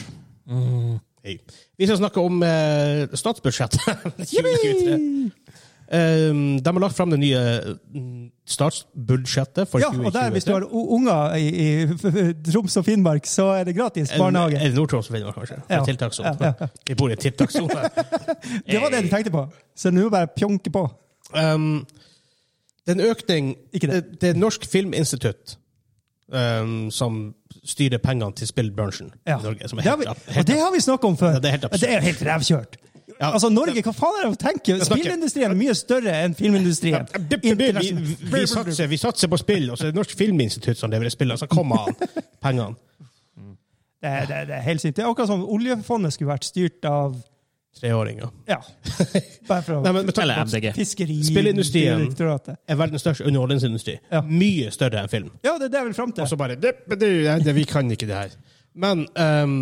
B: Hei. vi skal snakke om eh, statsbudsjettet. 2023. Um, de har lagt fram det nye mm, statsbudsjettet for
A: Ja,
B: 2023.
A: og der, hvis du har u- unger i, i f- f- Troms og Finnmark, så er det gratis barnehage.
B: Er det Nord-Troms og Finnmark, kanskje?
A: Ja.
B: Ja. Tiltakssone.
A: Ja, ja.
B: Vi bor i en tiltakssone.
A: Det var det de tenkte på. Så nå bare pjonke på.
B: um, det er en økning
A: Ikke det.
B: det er Norsk Filminstitutt ehm, som styrer pengene til spillbransjen
A: Ja.
B: i Norge. Som er
A: Det har
B: helt,
A: vi,
B: ab-
A: og
B: helt
A: det har vi snakka om før.
B: Ja, det er helt absurd.
A: det er jo helt revkjørt.
B: Ja.
A: Altså, Norge, hva faen er det å tenke?
B: snakker-
A: Spillindustrien er mye større enn filmindustrien.
B: Vi, vi, satser, vi satser på spill, og så er det Norsk Filminstitutt som leverer spill, og så kommer han pengene.
A: Det, er- det, er- det er helt sint. Det er akkurat som oljefondet skulle vært styrt av
B: Treåringer.
A: Ja. Bare for
B: Nei,
A: å
B: men, men
C: Eller
B: takk,
C: MDG.
B: Spillindustrien.
A: Fiskeridirektoratet.
B: er verdens største underholdningsindustri.
A: Ja.
B: Mye større enn film.
A: Ja, det er det jeg vil fram til.
B: Og så bare det, det, det, det, Vi kan ikke det her. Men ehm,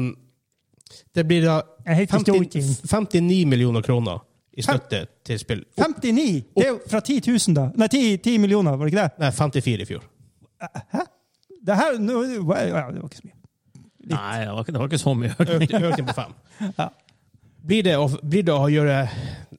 B: det blir da
A: Jeg heter
B: 50,
A: Storting.
B: 59 millioner kroner i støtte til spill.
A: 59! Det er jo fra 10 000, da. Nei, 10, 10 millioner, var det ikke det?
B: Nei, 54 i fjor.
A: Det her nå, wow, ja, Det var ikke så mye.
C: Nei, det var ikke, det var ikke så mye.
B: Økte økte inn på fem.
A: Ja.
B: Blir, det å, blir det å gjøre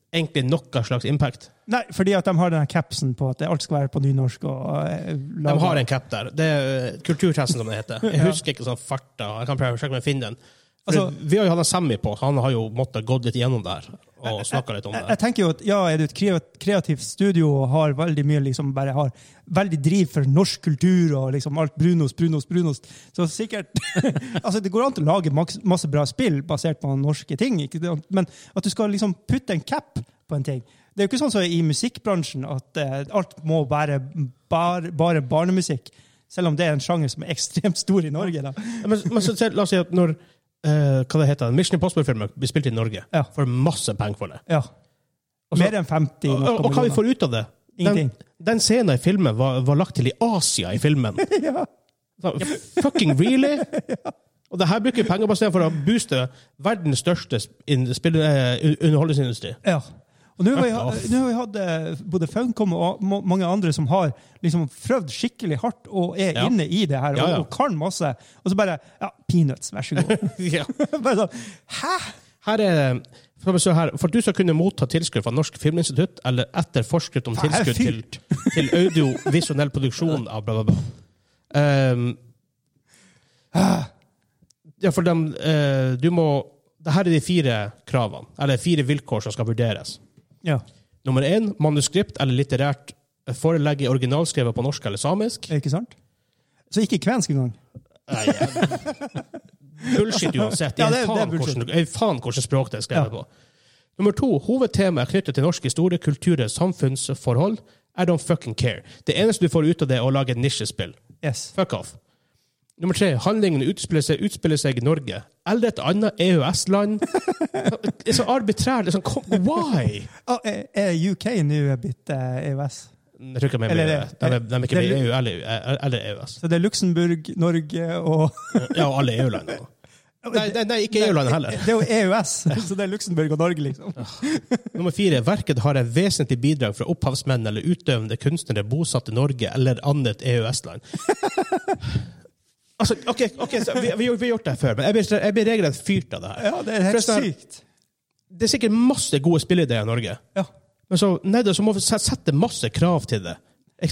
B: egentlig noe slags impact?
A: Nei, fordi at de har den her capsen på at det- alt skal være på nynorsk. og... eh,
B: De
A: laget-
B: har en cap der. Det er eh, kulturtesten, som det heter. Jeg husker ikke sånn farta. Jeg kan prøve å sjekke om jeg finner den. For
A: Altså-
B: vi har jo hatt en Sammy på, så han har jo måttet gått litt gjennom det her og snakka litt om det.
A: Jeg, jeg tenker jo at ja, er du et kreat- kreativt studio og har veldig mye liksom bare har veldig driv for norsk kultur og liksom alt brunost, brunost, brunost, så sikkert Altså, det går an til å lage maks- masse bra spill basert på norske ting, ikke? sant? men at du skal liksom putte en cap på en ting Det er jo ikke sånn som i musikkbransjen at eh, alt må være bare, bare barnemusikk. Selv om det er en sjanger som er ekstremt stor i Norge. da.
B: Ja, Men, men så, så la oss si at når eh, hva det heter, Mission Impossible-filmen blir spilt i Norge,
A: Ja.
B: får masse penger for det.
A: Ja.
B: Og så-
A: Mer enn 50.
B: Og,
A: noe
B: og hva vi
A: millioner.
B: får ut av det? Den,
A: Ingenting.
B: den scenen i filmen var, var lagt til i Asia i filmen.
A: ja.
B: Så, fucking really? Og det her bruker vi penger på i stedet for å booste verdens største sp- in- spill- eh, un- underholdningsindustri.
A: Ja. Og nå har vi,
B: Fuck off.
A: nå har vi hatt eh, både Funcom og ma- mange andre som har liksom prøvd skikkelig hardt og er
B: Ja.
A: inne i det her
B: Ja, ja.
A: Og, og kan masse, og så bare Ja, peanuts, vær så god.
B: Ja.
A: bare sånn, Hæ?!
B: Her er for, å se her, for at du skal kunne motta tilskudd fra Norsk Filminstitutt eller etter forskrift om
A: Faen, jeg er
B: tilskudd til, til audiovisuell produksjon av bla, bla, bla. Ehm, ja, for dem, eh, du må det her er de fire kravene, eller fire vilkår som skal vurderes.
A: Ja,
B: Nummer én manuskript eller litterært forelegg i originalskrevet på norsk eller samisk.
A: ikke sant? Så ikke kvensk engang.
B: Nei, jeg- bullshit uansett. Jeg
A: Ja, det er-
B: faen,
A: det er bullshit.
B: Hvordan, jeg faen hvordan språk det er skrevet
A: Ja.
B: på. Nummer to. Hovedtemaet er knyttet til norsk historie, kultur og samfunnsforhold. I don't fucking care. Det eneste du får ut av det, er å lage et nisjespill.
A: Yes.
B: Fuck off. Nummer tre. Handlingen utspiller seg, utspiller seg i Norge eller et annet EØS-land. Det er så arbitrært. det er sånn, kom- Why?
A: Ah, er- er UK nå er blitt eh, EØS?
B: Jeg tror ikke de er
A: Eller
B: med,
A: det-
B: de er, de er ikke med i
A: det-
B: EU eller, eller EØS.
A: Så det er Luxembourg, Norge og
B: Ja, og alle EU-landene. Nei, nei, nei, ikke EU-landene heller.
A: Det er jo EØS, så det er Luxembourg og Norge, liksom.
B: Nummer fire. Verket har et vesentlig bidrag fra opphavsmenn eller utøvende kunstnere bosatt i Norge eller annet EØS-land. altså, ok, ok, så vi, vi, vi har gjort det her før, men jeg blir, jeg blir regelrett fyrt av det her.
A: Ja, det er helt
B: Forresten,
A: sykt.
B: Det er sikkert masse gode spilleideer i Norge,
A: Ja.
B: men så, nei, da, så må vi se- sette masse krav til det.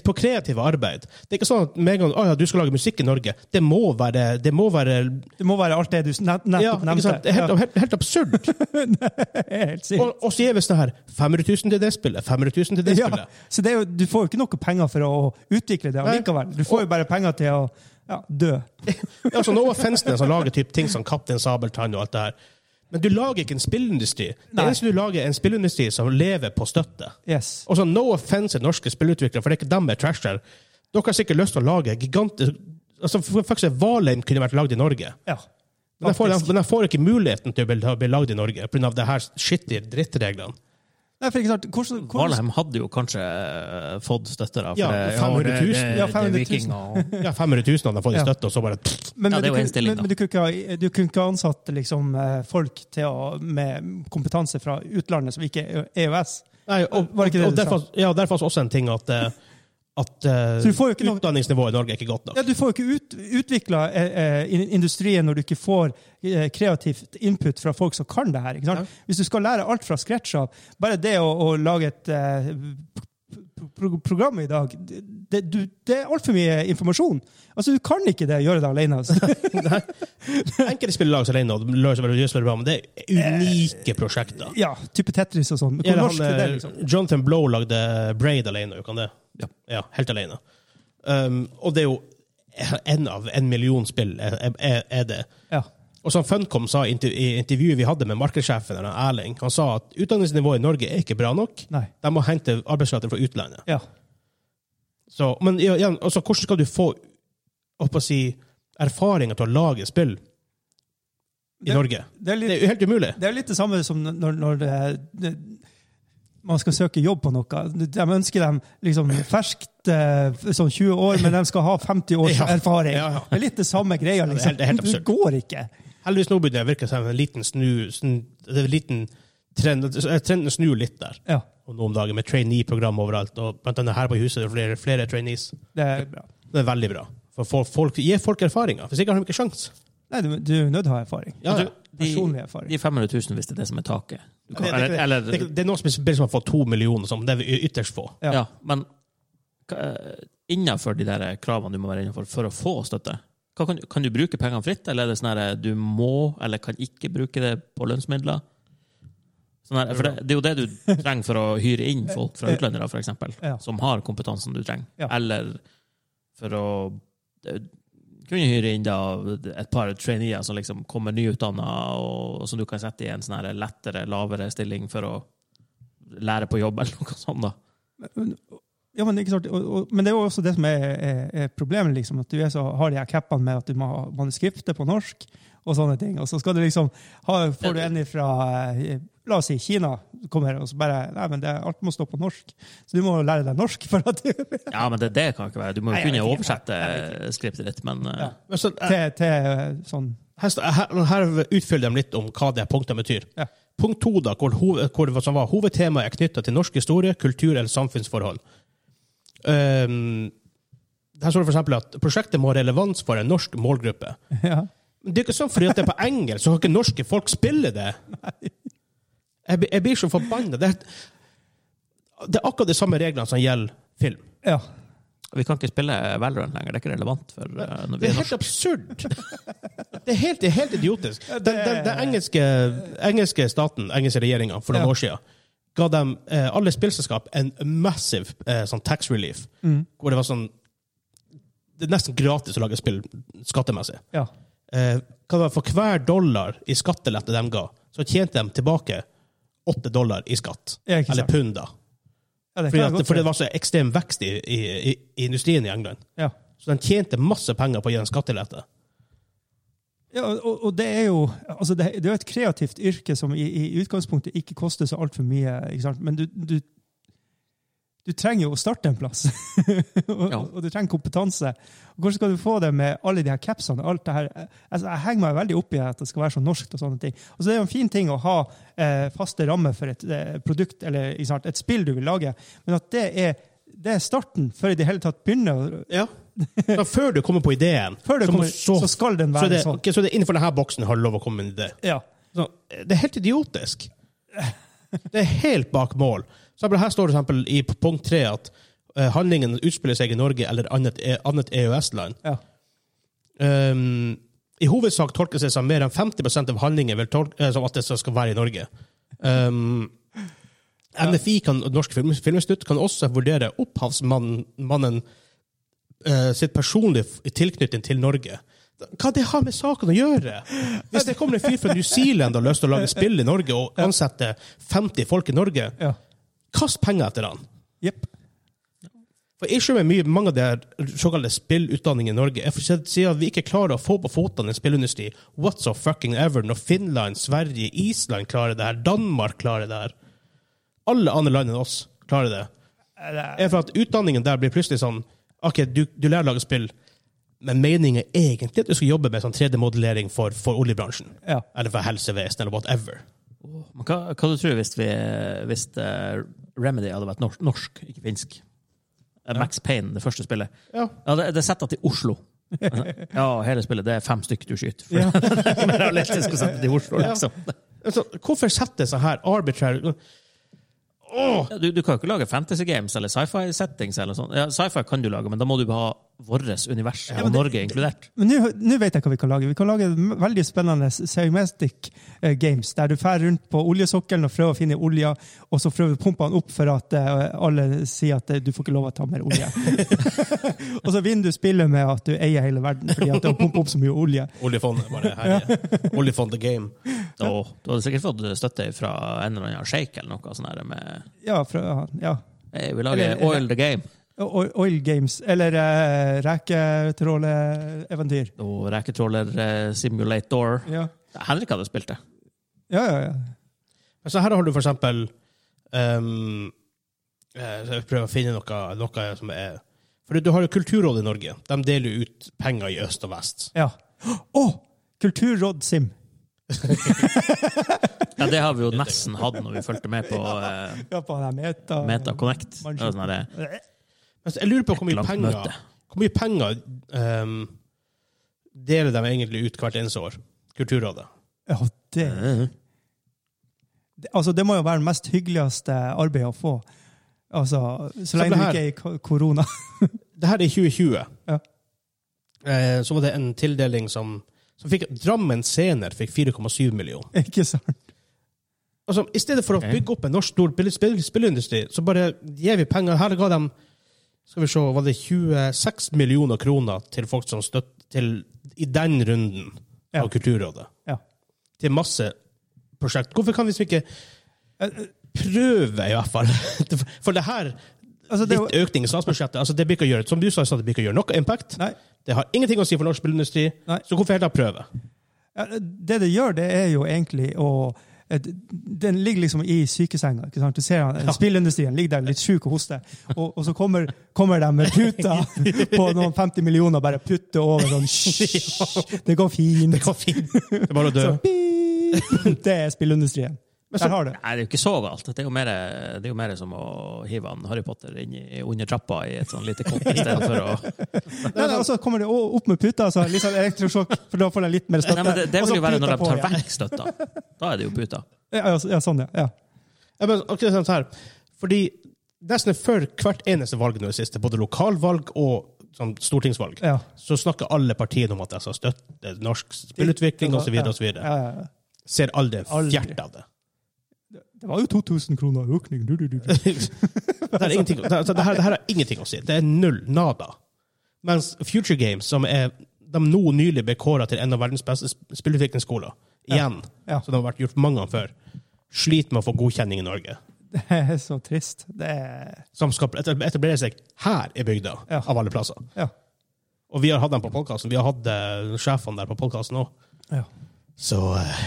B: På kreative arbeid. Det er ikke sånn at med en gang, «Å ja, du skal lage musikk i Norge. Det må være, det må være
A: Det må være alt det du net-
B: ja,
A: nettopp
B: ikke
A: nevnte.
B: sant? Det er helt, helt, helt absurd.
A: det er helt sykt.
B: Og, og så gir vi sånn her 500 000 til det spillet, 500 000 til det
A: Ja,
B: spillet.
A: så det er jo, du får jo ikke noe penger for å utvikle det allikevel. Du får jo bare penger til å ja, dø.
B: Altså, no offense til den som lager typ ting som Kaptein Sabeltann og alt det her. Men du lager ikke en spillindustri. Det
A: Nei.
B: eneste du lager, er en spillindustri som lever på støtte.
A: Yes.
B: Og så no offense til norske spillutviklere, for det er ikke dem jeg trasher. Dere har sikkert lyst til å lage giganter... Altså, for faktisk, Valheim kunne vært lagd i Norge.
A: Ja.
B: Men jeg, får,
A: Faktisk.
B: men jeg får ikke muligheten til å bli, bli lagd i Norge pga. det her skittige drittreglene.
A: Nei, for ikke sant, hvordan, hvordan,
C: Valheim hadde jo kanskje eh, fått støtte, da. for
B: Ja,
C: det-
B: 500 000.
C: det- det-
A: Ja,
C: det er
A: 500 000.
C: vikinger og-
B: Ja, 500 000 hadde fått i
A: Ja.
B: støtte, og så bare pff,
A: men,
C: Ja,
A: men du
C: det var
A: kunne-
C: innstillingen,
A: men, men du kunne ikke, ha- du kunne ikke ha ansatt liksom, eh, folk til å, med kompetanse fra utlandet som ikke er E EØS.
B: Nei, og,
A: Var det ikke det
B: og
A: du
B: derfor, ja, derfor er det også en ting at, eh, at eh,
A: Så du får jo ikke noe-
B: utdanningsnivået i Norge er ikke godt nok.
A: Ja, du får jo ikke ut, utvikla eh, eh, in- industrien når du ikke får eh, kreativt input fra folk som kan det her. Ikke sant? Hvis du skal lære alt fra scratch av Bare det å, å lage et eh, pro pro program i dag det, det, du, det er altfor mye informasjon. Altså, Du kan ikke det gjøre det alene. Altså.
B: Enkelte spiller lag alene, og de løser veldig, løser veldig bra, men det er unike prosjekter.
A: Ja, type Tetris og sånn. Hvor
B: Eller
A: norsk
B: han,
A: er det?
B: eh,
A: liksom?
B: Jonathan Blow lagde Braid alene, gjorde han det?
C: Ja.
B: ja helt alene. Um, og det er jo en av en million spill er, er, er det.
A: Ja.
B: Og som Funcom sa i interv- i intervjuet vi hadde med markedssjefen, eller Erling, han sa at utdanningsnivået i Norge er ikke bra nok.
A: Nei.
B: De må hente arbeidskraften fra utlandet.
A: Ja.
B: Så, men ja, igjen, altså, hvordan skal du få holdt på å si, erfaringer til å lage spill i
A: Det-
B: Norge?
A: Det er
B: Det
A: litt
B: er jo helt umulig.
A: Det er jo litt det samme som når, når det, det, man skal søke jobb på noe. De ønsker dem liksom ferskt, eh, sånn 20 år, men de skal ha 50 års
B: Ja,
A: erfaring.
B: ja, ja.
A: Det er litt det samme greia.
B: det er
A: Liksom.
B: helt- det er helt absurd.
A: går ikke.
B: Heldigvis nå begynner det å virke som en liten snu, snu en liten trend, eh, Trenden snur litt der
A: Ja,
B: og nå om dagen, med trainee-program overalt. og Blant annet her på huset er det flere, flere trainees.
A: det er bra.
B: Det er veldig bra. For folk, folk, Gi folk erfaringer, hvis ikke har de ikke sjans.
A: Nei, du, du er nødt til å ha erfaring.
B: Ja,
C: Men
B: ja.
C: du, Altså, de,
A: Personlig erfaring.
C: de 500 000, hvis det er det som er taket. Du kan,
B: Det, det,
C: eller,
B: det, det,
C: eller,
B: det er noen som, som har fått to millioner, som det er y- ytterst få.
A: Ja.
C: ja, men hva- eh, innenfor de der kravene du må være innenfor for å få støtte, hva kan, kan du bruke pengene fritt, eller er det sånn at du må eller kan ikke bruke det på lønnsmidler? Sånn her, for det, det er jo det du trenger for å hyre inn folk fra utlandet, da, for eksempel,
A: Ja.
C: som har kompetansen du trenger.
A: Ja.
C: Eller for å eh, kunne hyre inn da et par traineer som liksom kommer nyutdanna, og, og som du kan sette i en sånn her lettere, lavere stilling for å lære på jobb, eller noe sånt. da.
A: Ja, men, ikke sant? Og, og, men det er jo også det som er, er, er problemet, liksom, at du er så, har de her cappene med at du må ha manuskriptet på norsk, og sånne ting. Og så skal du liksom, ha, får du en fra eh, la oss si Kina, kommer og så bare, nei, men det, alt må stå på norsk. Så du må lære deg norsk for at du, til,
C: Ja, men det, det kan ikke være. Du må
A: Nei,
C: jo
A: jeg
C: kunne
A: vet ikke.
C: oversette eh, skriptet ditt, men eh,
A: Ja.
B: Men så, eh,
A: til sånn,
B: her, sta- her, her utfyller de litt om hva det punktene betyr.
A: Ja.
B: Punkt to, da, hvor, hoved, hvor det som var hovedtemaet er knytta til norsk historie, kultur eller samfunnsforhold. Um, her står det f.eks. at prosjektet må ha relevans for en norsk målgruppe.
A: ja.
B: Men det er ikke sånn fordi at det er på engelsk, så kan ikke norske folk spille det. Jeg, blir- jeg blir så forbanna. Det, er- det er akkurat de samme reglene som gjelder film.
A: Ja.
C: vi kan ikke spille Valorant lenger. Det er ikke relevant. for eh, når vi
B: Det
C: er
B: er helt
C: norsk.
B: absurd! Det er helt, det er helt idiotisk. Den, den, den engelske, engelske staten, engelske regjeringa, for noen
A: Ja.
B: år siden ga dem, eh, alle spillselskap en massive eh, sånn tax relief.
A: Mm.
B: Hvor det var sånn Det er nesten gratis å lage spill skattemessig.
A: Ja.
B: Eh, hva det var, for hver dollar i skattelette de ga, så tjente de tilbake åtte dollar i skatt.
A: Ja, ikke sant.
B: Eller pund, da.
A: ja det
B: Fordi
A: kan jeg
B: at,
A: godt
B: for det
A: se.
B: var så ekstrem vekst i, i, i, i industrien i England.
A: Ja.
B: Så de tjente masse penger på å gi dem skattelette.
A: Ja, og, og det er jo altså det, det er jo et kreativt yrke som i, i utgangspunktet ikke koster så altfor mye. Ikke sant? Men du, du, du trenger jo å starte en plass. og,
C: Ja.
A: og du trenger kompetanse. Og hvordan skal du få det med alle de her capsene? Alt det her? Altså, jeg henger meg veldig opp i at det skal være så norskt. og sånne ting. Altså, det er jo en fin ting å ha eh, faste rammer for et eh, produkt eller ikke sant? et spill du vil lage, men at det er, det er starten før i det hele tatt begynner. å-
B: Ja. Så før du kommer på ideen,
A: Før det
B: så, må-
A: kommer, så, skal den
B: så er
A: være
B: det,
A: sånn.
B: ok, så er det innenfor denne boksen har du lov å komme med en idé.
A: Ja.
B: Så, det er helt idiotisk. Det er helt bak mål. Så her- her står det for eksempel i punkt tre at eh, handlingen utspiller seg i Norge eller annet, eh, annet EØS-land.
A: ja.
B: Um, I hovedsak tolkes det som mer enn 50 av handlinger vil tolke, eh, som at det skal være i Norge. Um, NFI, kan, Norsk Film, Filminstitutt, kan også vurdere opphavsmannen mannen, eh, sitt personlige f- tilknytning til Norge. Hva det har med saken å gjøre? Hvis det kommer en fyr fra New Zealand og har lyst til å lage spill i Norge og ansetter 50 folk i Norge,
A: ja.
B: kast penger etter han.
A: Jepp.
B: For issue med mye, mange av de her såkalte spillutdanningene i Norge er for å si at vi ikke klarer å få på fotene en spillindustri what so fucking ever når Finland, Sverige, Island klarer det her, Danmark klarer det her. Alle andre land enn oss klarer det. Er for at utdanningen der blir plutselig sånn OK, du, du lærer å lage spill, men meningen er egentlig at du skal jobbe med sånn 3D-modellering for, for oljebransjen.
A: Ja.
B: Eller for helsevesenet, eller whatever.
C: Men hva, hva du tror du hvis, vi, hvis eh, Remedy hadde vært norsk, norsk ikke finsk? Eh, Max Payne, det første spillet.
B: Ja.
C: det, det er satt til Oslo. Ja, hele spillet. Det er fem stykker du skyter. For
A: Ja.
C: det er mer realistisk å sette til Oslo, liksom.
B: Altså, hvorfor setter sånn her arbitrary Å, Åh!
C: Ja, du, du kan jo ikke lage fantasy games eller sci-fi-settings. eller sånn. Ja, Sci-fi kan du lage, men da må du ha vårt univers, og Norge inkludert.
A: Men nå nå vet jeg hva vi kan lage. Vi kan lage m- veldig spennende seismatic eh, games, der du fer rundt på oljesokkelen og prøver å finne olja, og så prøver du å pumpe den opp for at eh, alle sier at eh, du får ikke lov å ta mer olje. og så vinner du spillet med at du eier hele verden fordi at du har pumpet opp så mye olje.
B: Oljefondet bare herjer. Oljefond the game.
C: Og du hadde sikkert fått støtte fra en eller annen sjeik eller noe sånn her med
A: Ja, fra, ja.
C: hey, eh, Vi lager
A: Eller-
C: oil the game.
A: O- Oil games, eller uh, reketråleeventyr.
C: Og reketråler eh, simulator.
A: Ja.
C: Henrik hadde spilt det.
A: ja, ja, ja.
B: Men Så Altså, her har du for eksempel ehm, eh, så Jeg prøver å finne noe, noe som er For du har jo Kulturrådet i Norge. De deler jo ut penger i øst og vest.
A: ja. Å! Kulturråd Sim.
C: Ja, Det har vi jo nesten hatt når vi fulgte med på eh,
A: Ja, på den her meta...
C: Meta Connect. Det var sånn her,
B: Men så jeg lurer på hvor mye
C: langt møte.
B: penger, hvor mye penger ehm, deler de egentlig ut hvert eneste år? Kulturrådet.
A: Ja, det,
C: eh,
A: det- altså, det må jo være det mest hyggeligste arbeidet å få. Altså, så
B: ble
A: lenge du
B: her-
A: ikke er i ko- korona.
B: Det her er i 2020.
A: Ja.
B: Eh, så var det en tildeling som, som fikk Drammen Scener fikk 4,7 millioner.
A: ikke sant?
B: Altså, I stedet for å
C: Ok.
B: bygge opp en norsk stor spill, spill, spillindustri, så bare gir vi penger. Her ga de skal vi se, var det 26 millioner kroner til folk som støtt til i den runden
A: Ja.
B: av Kulturrådet.
A: Ja.
B: Til masse prosjekt. Hvorfor kan vi liksom ikke eh, prøve, i hvert fall? For det her,
A: Altså, det, er
B: litt
A: jo-
B: økning i statsbudsjettet, altså det blir ikke å gjøre, som du sa, så det blir ikke å gjøre noe impact.
A: Nei.
B: Det har ingenting å si for norsk spillindustri,
A: Nei.
B: så hvorfor heller prøve?
A: Ja, det det gjør, det er jo egentlig å et- den ligger liksom i sykesenga. ikke sant? Du ser han, Spillindustrien ligger der litt sjuk og hoster, og, og så kommer, kommer de med puta på noen 50 millioner og bare putter over sånn Hysj, det går fint.
B: går fint. Det er bare å dø.
A: Så, beep, det er spillindustrien. Der har du.
C: Nei, det er jo ikke så galt. Det er jo mer, det er jo mer som å hive han Harry Potter inn i, under trappa i et sånn lite kott i stedet for å
A: Nei, nei, og så kommer det å- opp med puta, så litt sånn elektrosjokk, for da får de litt mer støtte.
C: Nei, men det, det
A: Og så
C: vil jo være når
A: puta
C: de
A: på
C: tar
A: igjen.
C: vekk støtta. Da er det jo puta.
A: Ja, ja, så- ja, sånn, ja. ja.
B: Ja, men, ok, sånn her. Fordi nesten før hvert eneste valg nå i det siste, både lokalvalg og sånn, stortingsvalg,
A: Ja.
B: så snakker alle partiene om at de skal støtte norsk spillutvikling osv.
A: Ja,
B: osv.
A: ja, ja, ja.
B: Ser aldri en
A: Aldri.
B: fjert av det.
A: Det var jo 2000 kroner i økning. Du, du, du, du.
B: det, er ingenting, det, altså, det, her, det her har ingenting å si. Det er null. Nada. Mens Future Games, som er de nå nylig ble kåret til en av verdens beste sp- spillutviklingsskoler, igjen,
A: Ja.
B: så det har vært gjort mange ganger før, sliter med å få godkjenning i Norge.
A: Det er så trist. Det er
B: Som skal etab- etablere seg her i bygda,
A: Ja.
B: av alle plasser.
A: Ja.
B: Og vi har hatt dem på podkasten. Vi har hatt eh, sjefene der på podkasten òg.
A: ja.
B: Så eh,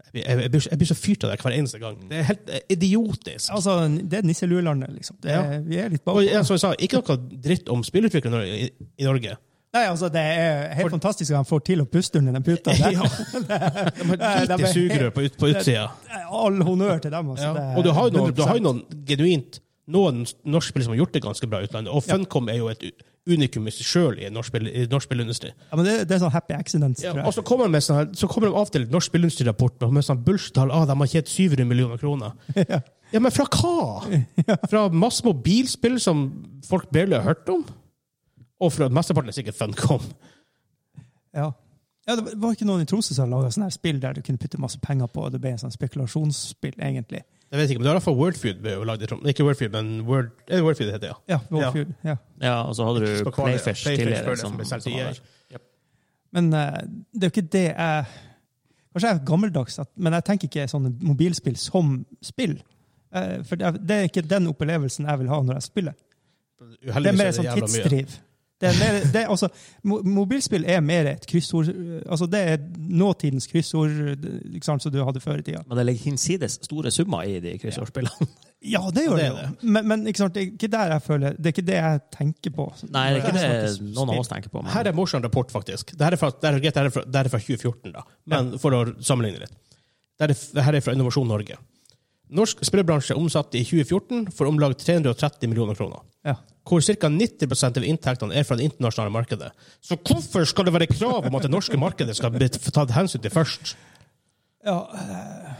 B: jeg, blir- jeg, blir, jeg blir så fyrt av det hver eneste gang. Det er helt eh, idiotisk.
A: Altså, det er nisseluelandet, liksom. Det er,
B: Ja.
A: Vi er litt bak.
B: og ja, som jeg sa, ikke noe dritt om spillutviklere i, i, i Norge.
A: Nei, altså, det er helt fantastisk at han får til å puste under den puta. der.
B: Ja. De har
A: Nei, de
B: lite
A: er
B: sugerør på, ut, på utsida.
A: All honnør til dem. Altså.
B: Ja.
A: Det er
B: Og du har jo noen, du
A: 100%.
B: har jo noen genuint noen norske spill som har gjort det ganske bra i utlandet. Og Funcom er jo et u- unikum i seg sjøl i norsk spill- i norsk spillindustri.
A: Ja, men det, det er sånn happy accidents,
B: Ja,
A: tror jeg.
B: og så kommer, de med sånn her, så kommer de av til norsk spillindustri-rapport med, med sånn bullshit-tall. Ah, de har tjent 700 millioner kroner.
A: Ja.
B: Ja, men fra hva? Fra masse mobilspill som folk barely har hørt om? Og fra mesteparten er sikkert Funcom.
A: Ja. Ja, det var ikke noen i Tromsø som laga sånne her spill der du kunne putte masse penger på, og det ble en sånn spekulasjonsspill, egentlig.
B: Jeg vet ikke, men det er i hvert fall Wordfeud. ble jo laget i Trondheim. Ikke Wordfeud, men Word, eh, Wordfeud heter det, ja.
A: Ja, Warfield, ja.
C: Ja, og så hadde du
B: På Kvaløya.
C: Playfish
B: Playfish
A: liksom,
B: før
C: tidligere.
B: det,
C: Som,
B: som ble solgt E i
C: som var
B: EA.
C: der.
A: Men eh, det er jo ikke det jeg Kanskje jeg er gammeldags, at- men jeg tenker ikke sånne mobilspill som spill. Eh, for det er, det er ikke den opplevelsen jeg vil ha når jeg spiller. Det er
B: Uheldigvis
A: mer sånn
B: jævla mye.
A: tidsdriv. Det er mer, det er, altså, mo- mobilspill er mer et kryssord altså Det er nåtidens kryssord ikke sant, som du hadde før i tida.
C: Men det ligger hinsides store summer i de kryssordspillene.
A: Ja, det gjør det,
B: Ja, det er
A: jo. Men, men ikke sant, det er ikke der jeg føler Det er ikke det jeg tenker på.
C: Nei, det er ikke
A: Jeg
C: det
A: snakker
C: noen
A: spill.
C: av oss tenker på.
B: Her
C: Men
B: er en morsom rapport, faktisk. Det her er fra, det her er, greit, det her er fra, det her er fra 2014, da. Men for å sammenligne litt. Det her er, det her er fra Innovasjon Norge. Norsk spillebransje omsatte i 2014 for om lag 330 millioner kroner.
A: Ja.
B: Hvor ca. 90 av inntektene er fra det internasjonale markedet. Så hvorfor skal det være krav om at det norske markedet skal bli tatt hensyn til først?
A: Ja, eh,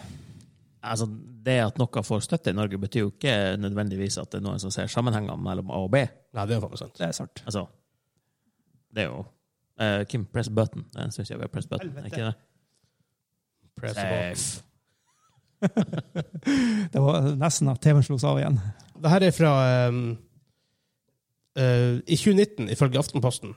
C: altså, det at noe får støtte i Norge, betyr jo ikke nødvendigvis at det er noen som ser sammenhenger mellom A og B.
B: Nei, det er faktisk sant.
A: Det er sant.
C: Altså, det er jo eh, Kim, press button. Den syns jeg vi har press button. er Ikke det? Eh,
B: Press
C: Safe.
A: Det var nesten at TV-en slo seg av igjen.
B: Det her er fra ehm, eh, I 2019, ifølge Aftenposten,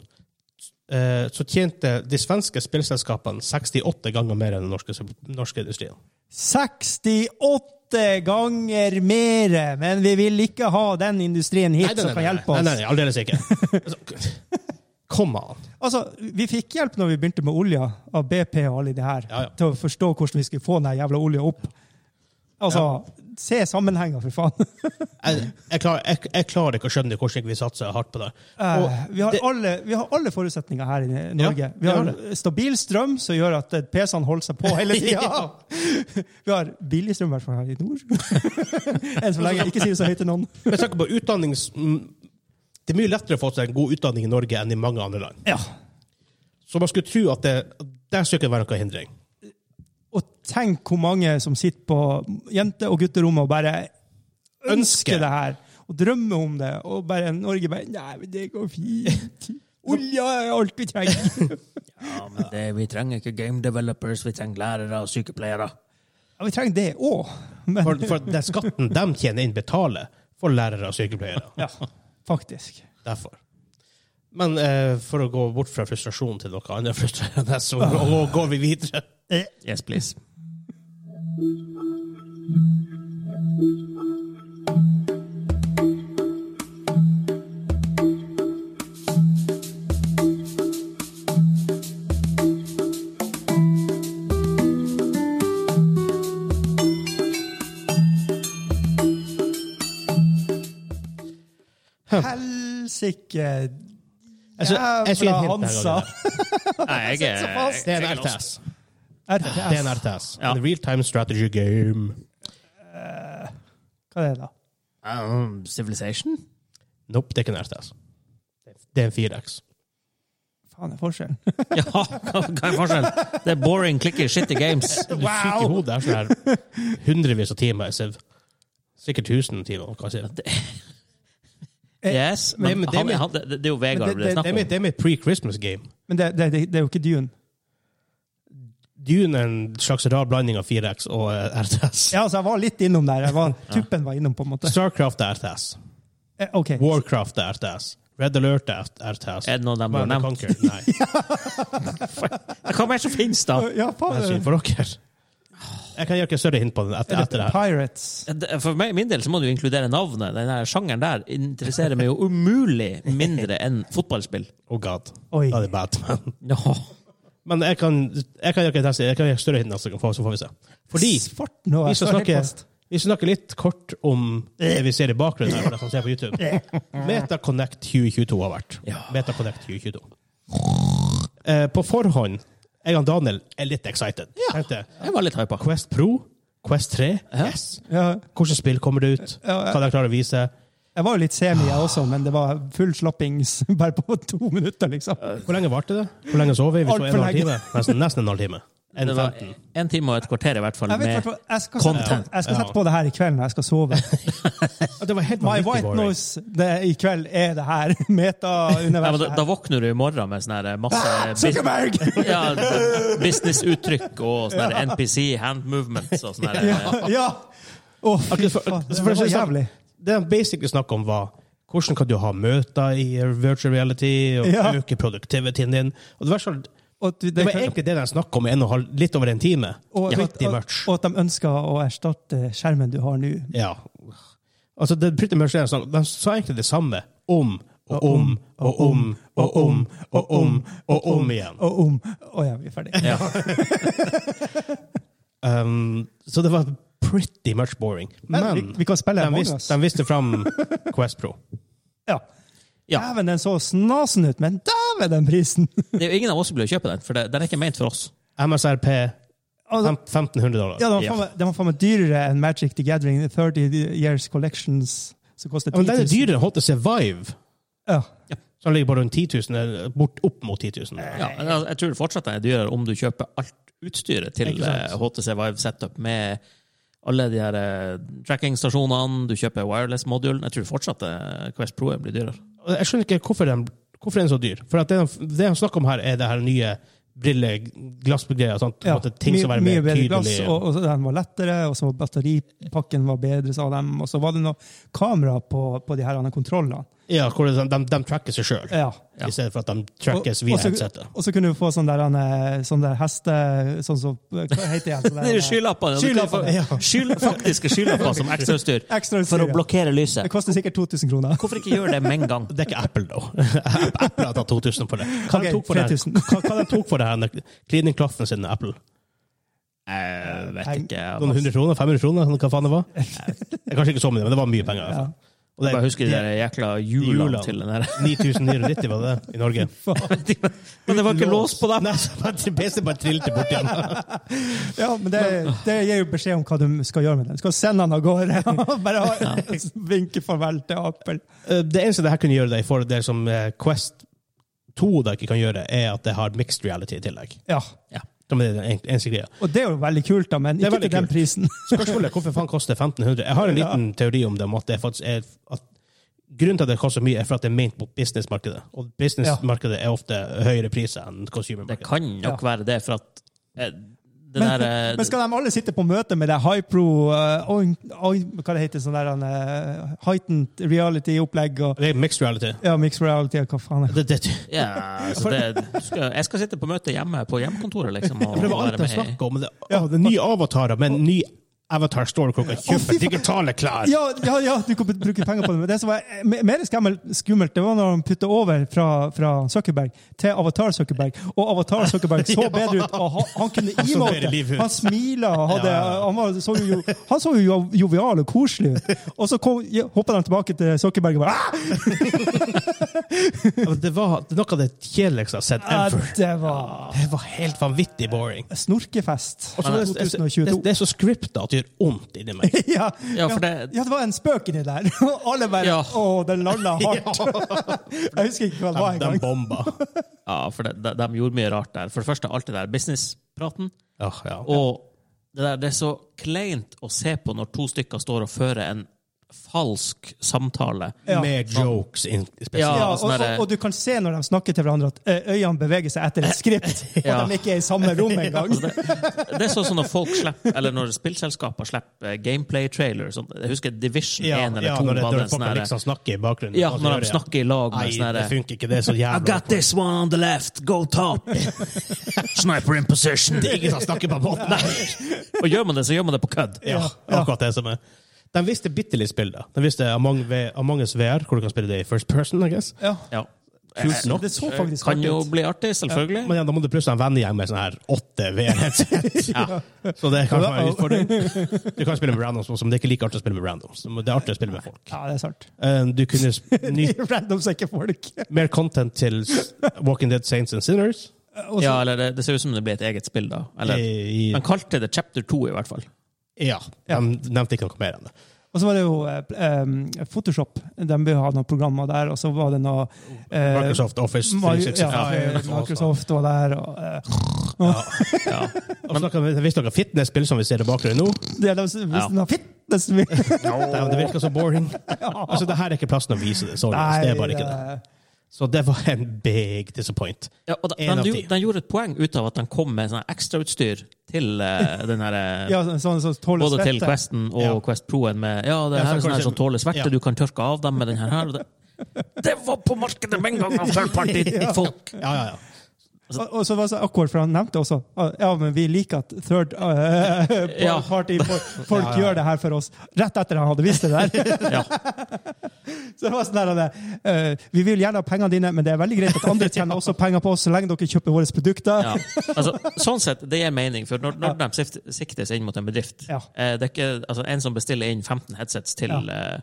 B: eh, så tjente de svenske spillselskapene 68 ganger mer enn den norske, norske industrien.
A: 68 ganger mer! Men vi vil ikke ha den industrien hit som kan hjelpe oss.
B: Nei, nei, nei, aldeles ikke. Altså, Kom an.
A: Altså, Vi fikk hjelp når vi begynte med olja, av BP og alle de her,
B: Ja, ja.
A: til å forstå hvordan vi skulle få den jævla olja opp. Altså, se sammenhenger, for faen.
B: Jeg, jeg, klarer, jeg, jeg klarer ikke å skjønne hvordan ikke vi satser hardt på det. Og
A: Eh, vi, har
B: det-
A: alle, vi har alle forutsetninger her i Norge.
B: Ja,
A: vi
B: vi har
A: har stabil strøm som gjør at eh, PC-ene holder seg på hele tida.
B: Ja.
A: Vi har billig strøm, i hvert fall her i nord. Enn så lenge. Ikke si det så høyt til noen.
B: Jeg tenker på utdannings... mm, Det er mye lettere å få seg en god utdanning i Norge enn i mange andre land.
A: Ja.
B: Så man skulle tro at det, der skulle ikke være noen hindring.
A: Og tenk hvor mange som sitter på jente- og gutterommet og bare ønsker
B: Ønsker.
A: det her. Og drømmer om det. Og bare Norge bare Nei, men det går fint. Olja er alt vi trenger.
C: Ja, men det, vi trenger ikke game developers, vi trenger lærere og sykepleiere.
A: Ja, vi trenger det òg. Men
B: For, for den skatten de tjener inn, betaler for lærere og sykepleiere.
A: ja, faktisk.
B: Derfor. Men eh, for å gå bort fra frustrasjon til noe annet frustrerende, så gå- går vi videre.
A: Eh,
C: Yes, please.
A: Helsike.
B: Jeg sy- Hm. Altså, jeg synes
A: Jævla
B: hint denne
A: Hansa.
B: gangen her.
C: Nei, jeg er
A: Så fast.
B: Det er en
C: jeg er lost.
B: RTS. Det er en
A: RTS.
B: RTS.
C: Ja.
B: En real time strategy game.
A: Hva er det, da?
C: Um, Civilization?
B: Nope, det er ikke en RTS. Det er en 4X.
A: Faen, det er forskjellen.
C: Ja, hva hva er forskjellen? Det er boring, clicky, shitty games.
B: Du er syk i hodet. Det er sånn her hundrevis av timer. jeg ser. Sikkert tusen timer. Hva sier jeg?
C: Yes,
B: Nei,
C: men,
B: men det
C: han,
B: er mitt-
C: han, det, det er jo Vegard
A: Men
C: det, er
B: Det
C: snakk
B: er
C: om.
B: mitt, det er mitt pre-Christmas game.
A: Men det, det, det, det er jo ikke Dune.
B: Dune er en slags rar blanding av 4X og eh, RTS.
A: Ja, altså, jeg var litt innom der. Jeg var, tuppen var innom, på en måte.
B: Starcraft er RTS.
A: Eh, OK.
B: Warcraft er RTS. Red Alert er RTS.
C: Er det noen av dem du har
B: Command and
C: nevnt?
B: Conquer? Nei,
C: Hva mer som finnes, da?
A: Ja, faen.
B: det er synd for dere. Jeg kan gjøre ikke større hint på den etter,
A: Er
B: etter
A: det
B: det her.
A: Pirates?
C: Det- For meg, min del så må du inkludere navnet. Den der sjangeren der interesserer meg jo umulig mindre enn fotballspill.
B: Oh god.
A: Oi.
B: Da er det Batman.
C: Ja.
B: Men jeg kan, jeg kan gjøre ikke teste. Jeg kan gjøre større hint neste gang, for- så får vi se. Fordi
A: Svarten og
B: vi skal, snakke, vi skal snakke litt kort om det vi ser i bakgrunnen her, for dere som ser på YouTube. MetaConnect 2022 har vært.
C: Ja.
B: MetaConnect 2022. Eh, på forhånd, jeg og Daniel er litt excited. Tenkte,
C: Jeg var litt hypa.
B: Quest Pro, Quest 3,
C: Ja.
B: yes.
A: Ja,
B: Hvilket spill kommer det ut?
A: Ja, ja.
B: Hva de klarer å vise?
A: jeg var jo litt semi, jeg også, men det var full slappings bare på to minutter, liksom.
B: Hvor lenge varte det? Hvor lenge sov vi? Vi
A: Alt
B: sov en
A: for
B: og en halv
A: lenge.
B: time. Nesten, nesten en halv time. En
C: Det var
B: 15.
C: en time og et kvarter i hvert fall.
A: Jeg, vet,
C: Med,
A: hvertfall- jeg skal, sette,
C: Content.
A: jeg skal sette
B: Ja.
A: på det her i kveld når jeg skal sove.
B: Det var helt
A: My
B: vanvittig
A: white
B: boring.
A: noise det, i kveld er det her.
C: ja, men da,
A: Meta-universet.
C: da våkner du i morgen med sånn her masse
A: her.
C: bis-
A: Zuckerberg!
C: ja, businessuttrykk og sånn her NPC, hand movements og sånn her.
A: Ja! Å, fy
B: Akkurat for-
A: faen.
B: for-
A: Det
B: for-
A: var jævlig.
B: Det han basically snakket om, var hvordan kan du ha møter i virtual reality og
A: Ja.
B: øke productivityen din. Og det, var så,
A: Og at du-
B: det var
A: kan-
B: egentlig det de snakket om i en og halv, litt over en time.
A: og,
B: ja.
A: og,
B: Pretty
A: og,
B: much.
A: og at de ønsker å erstatte skjermen du har nå.
B: Ja. Altså, det er pretty much det de snakket om. De sa egentlig det samme om og om og om og om og om og om igjen.
A: Og om Å ja, vi er ferdig.
C: Ja.
B: Um, så det var pretty much boring.
A: Men
B: Men
A: vi, vi kan spille
B: de
A: Among
B: viste,
A: Us.
B: de viste fram Quest Pro.
A: Ja.
C: Ja.
A: Dæven, den så snasen ut, men dæven, den prisen!
C: Det er jo ingen av oss som blir å kjøpe den, for det, den er ikke ment for oss.
B: MSRP
A: Altså,
B: fem- 1500 dollar.
A: ja, den var
C: Ja.
A: faen meg- den var faen meg dyrere enn Magic the Gathering the 30 Years Collections, som koster
B: Ja, men
A: 10
B: den er
A: 000.
B: dyrere enn HTC Vive.
A: Ja.
B: Så den ligger på rundt 10 000, eller bort opp mot 10 000.
C: Ja, men altså, jeg tror fortsatt den er dyrere om du kjøper alt utstyret til
B: Ikke sant?
C: eh, HTC Vive Setup med alle de her eh, tracking-stasjonene, du kjøper wireless-modulen. Jeg tror fortsatt eh, Quest Pro blir dyrere.
B: Og Jeg skjønner ikke hvorfor den, hvorfor den er så dyr. For at det, de- det de snakker om her, er det her nye brille, glassgreier og sånt. på en måte, ting som er mer
A: mye bedre
B: tydelig.
A: glass, og, og så den var lettere, og så batteripakken var bedre, sa de. Og så var det noe kamera på, på de her andre kontrollene.
B: Ja, hvor det- sånn, de, de, de tracker seg sjøl,
A: Ja.
B: i stedet for at de
A: Og,
B: trackes via
A: og så-
B: headsetet.
A: og så kunne du få sånn der, eh, sånn der heste... Sånn som, hva heter det igjen? Sånn
C: Det er
A: der,
C: jo Skylappene! Du kan få-
A: Skylappene, ja.
C: Skyl- Faktiske skylapper som ekstrautstyr
A: eh, Ekstra
C: for
A: utstyr,
C: å
A: ja.
C: blokkere lyset.
A: Det koster sikkert 2000 kroner.
C: Hvorfor ikke gjøre det med en gang?
B: Det er ikke Apple, da. Apple har tatt 2000 for det. Hva
A: Ok,
B: de tok for det?
A: 3000.
B: her? Hva, hva de tok for det her? Cleaning-klaffen sin, Apple?
C: Jeg vet ikke.
B: Noen
C: Jeg
B: hundre kroner? 500 kroner? Hva faen det var? Det er kanskje ikke så mye, men det var mye penger. i hvert fall. Og det-
C: bare husker de der jækla hjulene
B: Hjulene.
C: til den der.
B: 9990 var det i Norge.
C: Men det var ikke lås på dem!
B: Nei, så bare- PC bare trilte bort igjen.
A: Ja, men det, det gir jo beskjed om hva du skal gjøre med den. Du skal sende den av gårde og bare ha- vinke farvel til Apple.
B: Eh, Det eneste det her kunne gjøre deg for det som eh, Quest 2 da ikke kan gjøre, er at det har mixed reality i tillegg.
A: Ja,
B: Som er den en- eneste greia.
A: Og det er jo veldig kult, da, men
B: Det er
A: ikke til
B: veldig
A: den
B: kult.
A: prisen.
B: Spørsmålet er hvorfor faen koster det 1500? Jeg har en liten teori om det, om at det faktisk er at Grunnen til at det koster så mye, er for at det er ment mot businessmarkedet. Og businessmarkedet er ofte høyere priser enn
C: Det
B: consumermarkedet.
C: kan nok være det, for at eh, det
A: Men,
C: der eh,
A: men skal de alle sitte på møte med det Hypro eh, oin- oin- Hva det heter sånn der eh, Heightened reality-opplegg og
B: Det er mixed reality.
A: ja, mixed reality og hva faen.
B: Det, det,
C: Ja, altså det, du skal, jeg skal sitte på møte hjemme på hjemmekontoret, liksom. Og
B: For det var alt
C: være
B: de
C: med i-
B: snakka om. Det, ja, det er nye avatarer, men ny Avatar Store hvor kan
A: Å, fy
B: kjøpe
A: faen.
B: digitale klær!
A: Ja, ja, ja, du kan bruke penger på det. Men det som var eh, me- mer skummelt, skummelt, det var når han putta over fra, fra Zuckerberg til Avatar Zuckerberg. Og Avatar Zuckerberg så bedre ut. og Han, han kunne
B: så bedre
A: emote.
B: liv ut.
A: Han smila. og hadde-
B: Ja, ja, ja.
A: Han, var- så jo, han så jo jo- jovial og koselig ut. Og så kom- ja, hoppa de tilbake til Zuckerberg og bare "Ah,
B: Ja, men Det var det er noe av det kjedeligste jeg har sett
A: Ja,
B: ever.
A: det var
B: Det var helt vanvittig boring.
A: Snorkefest.
B: Og så er det, det,
A: 2022.
B: det, det er så scripta at det gjør vondt inni meg.
A: ja,
C: Ja, for det-
A: ja, det var en spøk inni der. Og alle bare
C: Ja.
A: Å, den landa hardt. Jeg husker ikke hva det var
B: De
A: engang.
B: bomba.
C: Ja, for det, de, de gjorde mye rart der. For det første, alt det der businesspraten.
B: Ja, ja.
C: Og det, der, det er så kleint å se på når to stykker står og fører en falsk samtale.
A: Ja.
B: Med jokes in, spesielt.
C: Ja,
A: Ja,
C: og
A: og,
C: sånn
A: og,
C: der-
A: og du kan se når de snakker til hverandre, at eh, øynene beveger seg etter et skript. Og
C: Ja.
A: de ikke er i samme rom engang.
C: Altså, det, det er sånn som når folk slipper, eller når spillselskaper slipper eh, gameplay-trailer. sånn- Jeg husker Division 1
B: Ja,
C: eller 2.
B: ja, når, det, når
C: var det
B: folk
C: sånn der-
B: liksom snakker i bakgrunnen.
C: ja,
B: Og så
C: når
B: gjør
C: de
B: det.
C: snakker i lag med
B: Nei,
C: sånn
B: det
C: der-
B: funker ikke. Det er så
C: I
B: jævla
C: got this one on the left, go top! Sniper in position!
B: Det er ingen som snakker på båten! Nei.
C: Og gjør man det, så gjør man det på kødd.
B: Ja, akkurat det som er. De viste bitte litt spill, da. De viste Among, V- Among Us VR, hvor du kan spille det i first person, I guess.
A: Ja.
C: Ja.
B: Kult nok.
A: Det så faktisk
C: Eh, Kan
A: hardt
C: jo
A: ut.
C: bli artig, selvfølgelig.
B: Men ja, da må du plutselig ha en vennegjeng med sånn her åtte VR-headset. Så det kan være en utfordring. Du kan spille med randoms også, men det er ikke like artig å spille med randoms. Det er artig å spille med folk.
A: Ja, det er sant.
B: Eh, Du kunne sp- nyte
A: Random søker folk.
B: mer content til s- Walking Dead Saints and Sinners.
A: Og så-
C: Ja, eller det, det ser ut som det blir et eget spill, da. Eller,
B: I- i-
C: han kalte det Chapter 2, i hvert fall.
B: Ja. De nevnte ikke noe mer enn det.
A: Og så var det jo eh, eh, Photoshop. De bør ha noen programmer der, og så var det noe eh,
B: Microsoft Office
A: Ma- ja,
B: 365.
A: Microsoft var der, og eh,
C: Ja.
B: Og snakket om- Hvis dere har fitness-spill som vi ser i bakgrunnen nå
A: det, de, Hvis
C: Ja.
A: den har fitness Nei,
B: Damn, det virker så boring. Altså, det her er ikke plassen å vise det. Sorry. ass. det er bare ikke det. Så det var en big disappoint.
C: Ja, og de,
B: En av
C: de,
B: ti.
C: de gjorde et poeng ut av at de kom med sånn ekstrautstyr til eh, den her eh,
A: Ja, sånn som tåler
C: Både til
A: svette.
C: Questen og
B: Ja.
C: Quest Pro-en med Ja, det
B: Ja,
C: her
B: for
C: er sånn her
B: kanskje-
C: som tåler sverte,
B: ja.
C: du kan tørke av dem med den her. her og det, det var på markedet med en gang av third-party folk!
B: Ja, ja, ja.
A: Og, og så var det så akkurat, for han nevnte også ah, Ja, men vi liker at third eh,
C: Ja.
A: party for, folk gjør det her for oss. Rett etter han hadde visst det der.
C: Ja.
A: Så det var sånn der, eh, Vi vil gjerne ha pengene dine, men det er veldig greit at andre tjener også penger på oss, så lenge dere kjøper våre produkter.
C: Ja. Altså, sånn sett, det gir mening, for når, når de sift- sikter seg inn mot en bedrift
A: Ja.
C: eh, det er ikke, altså, En som bestiller inn 15 headsets til,
A: Ja.
C: eh,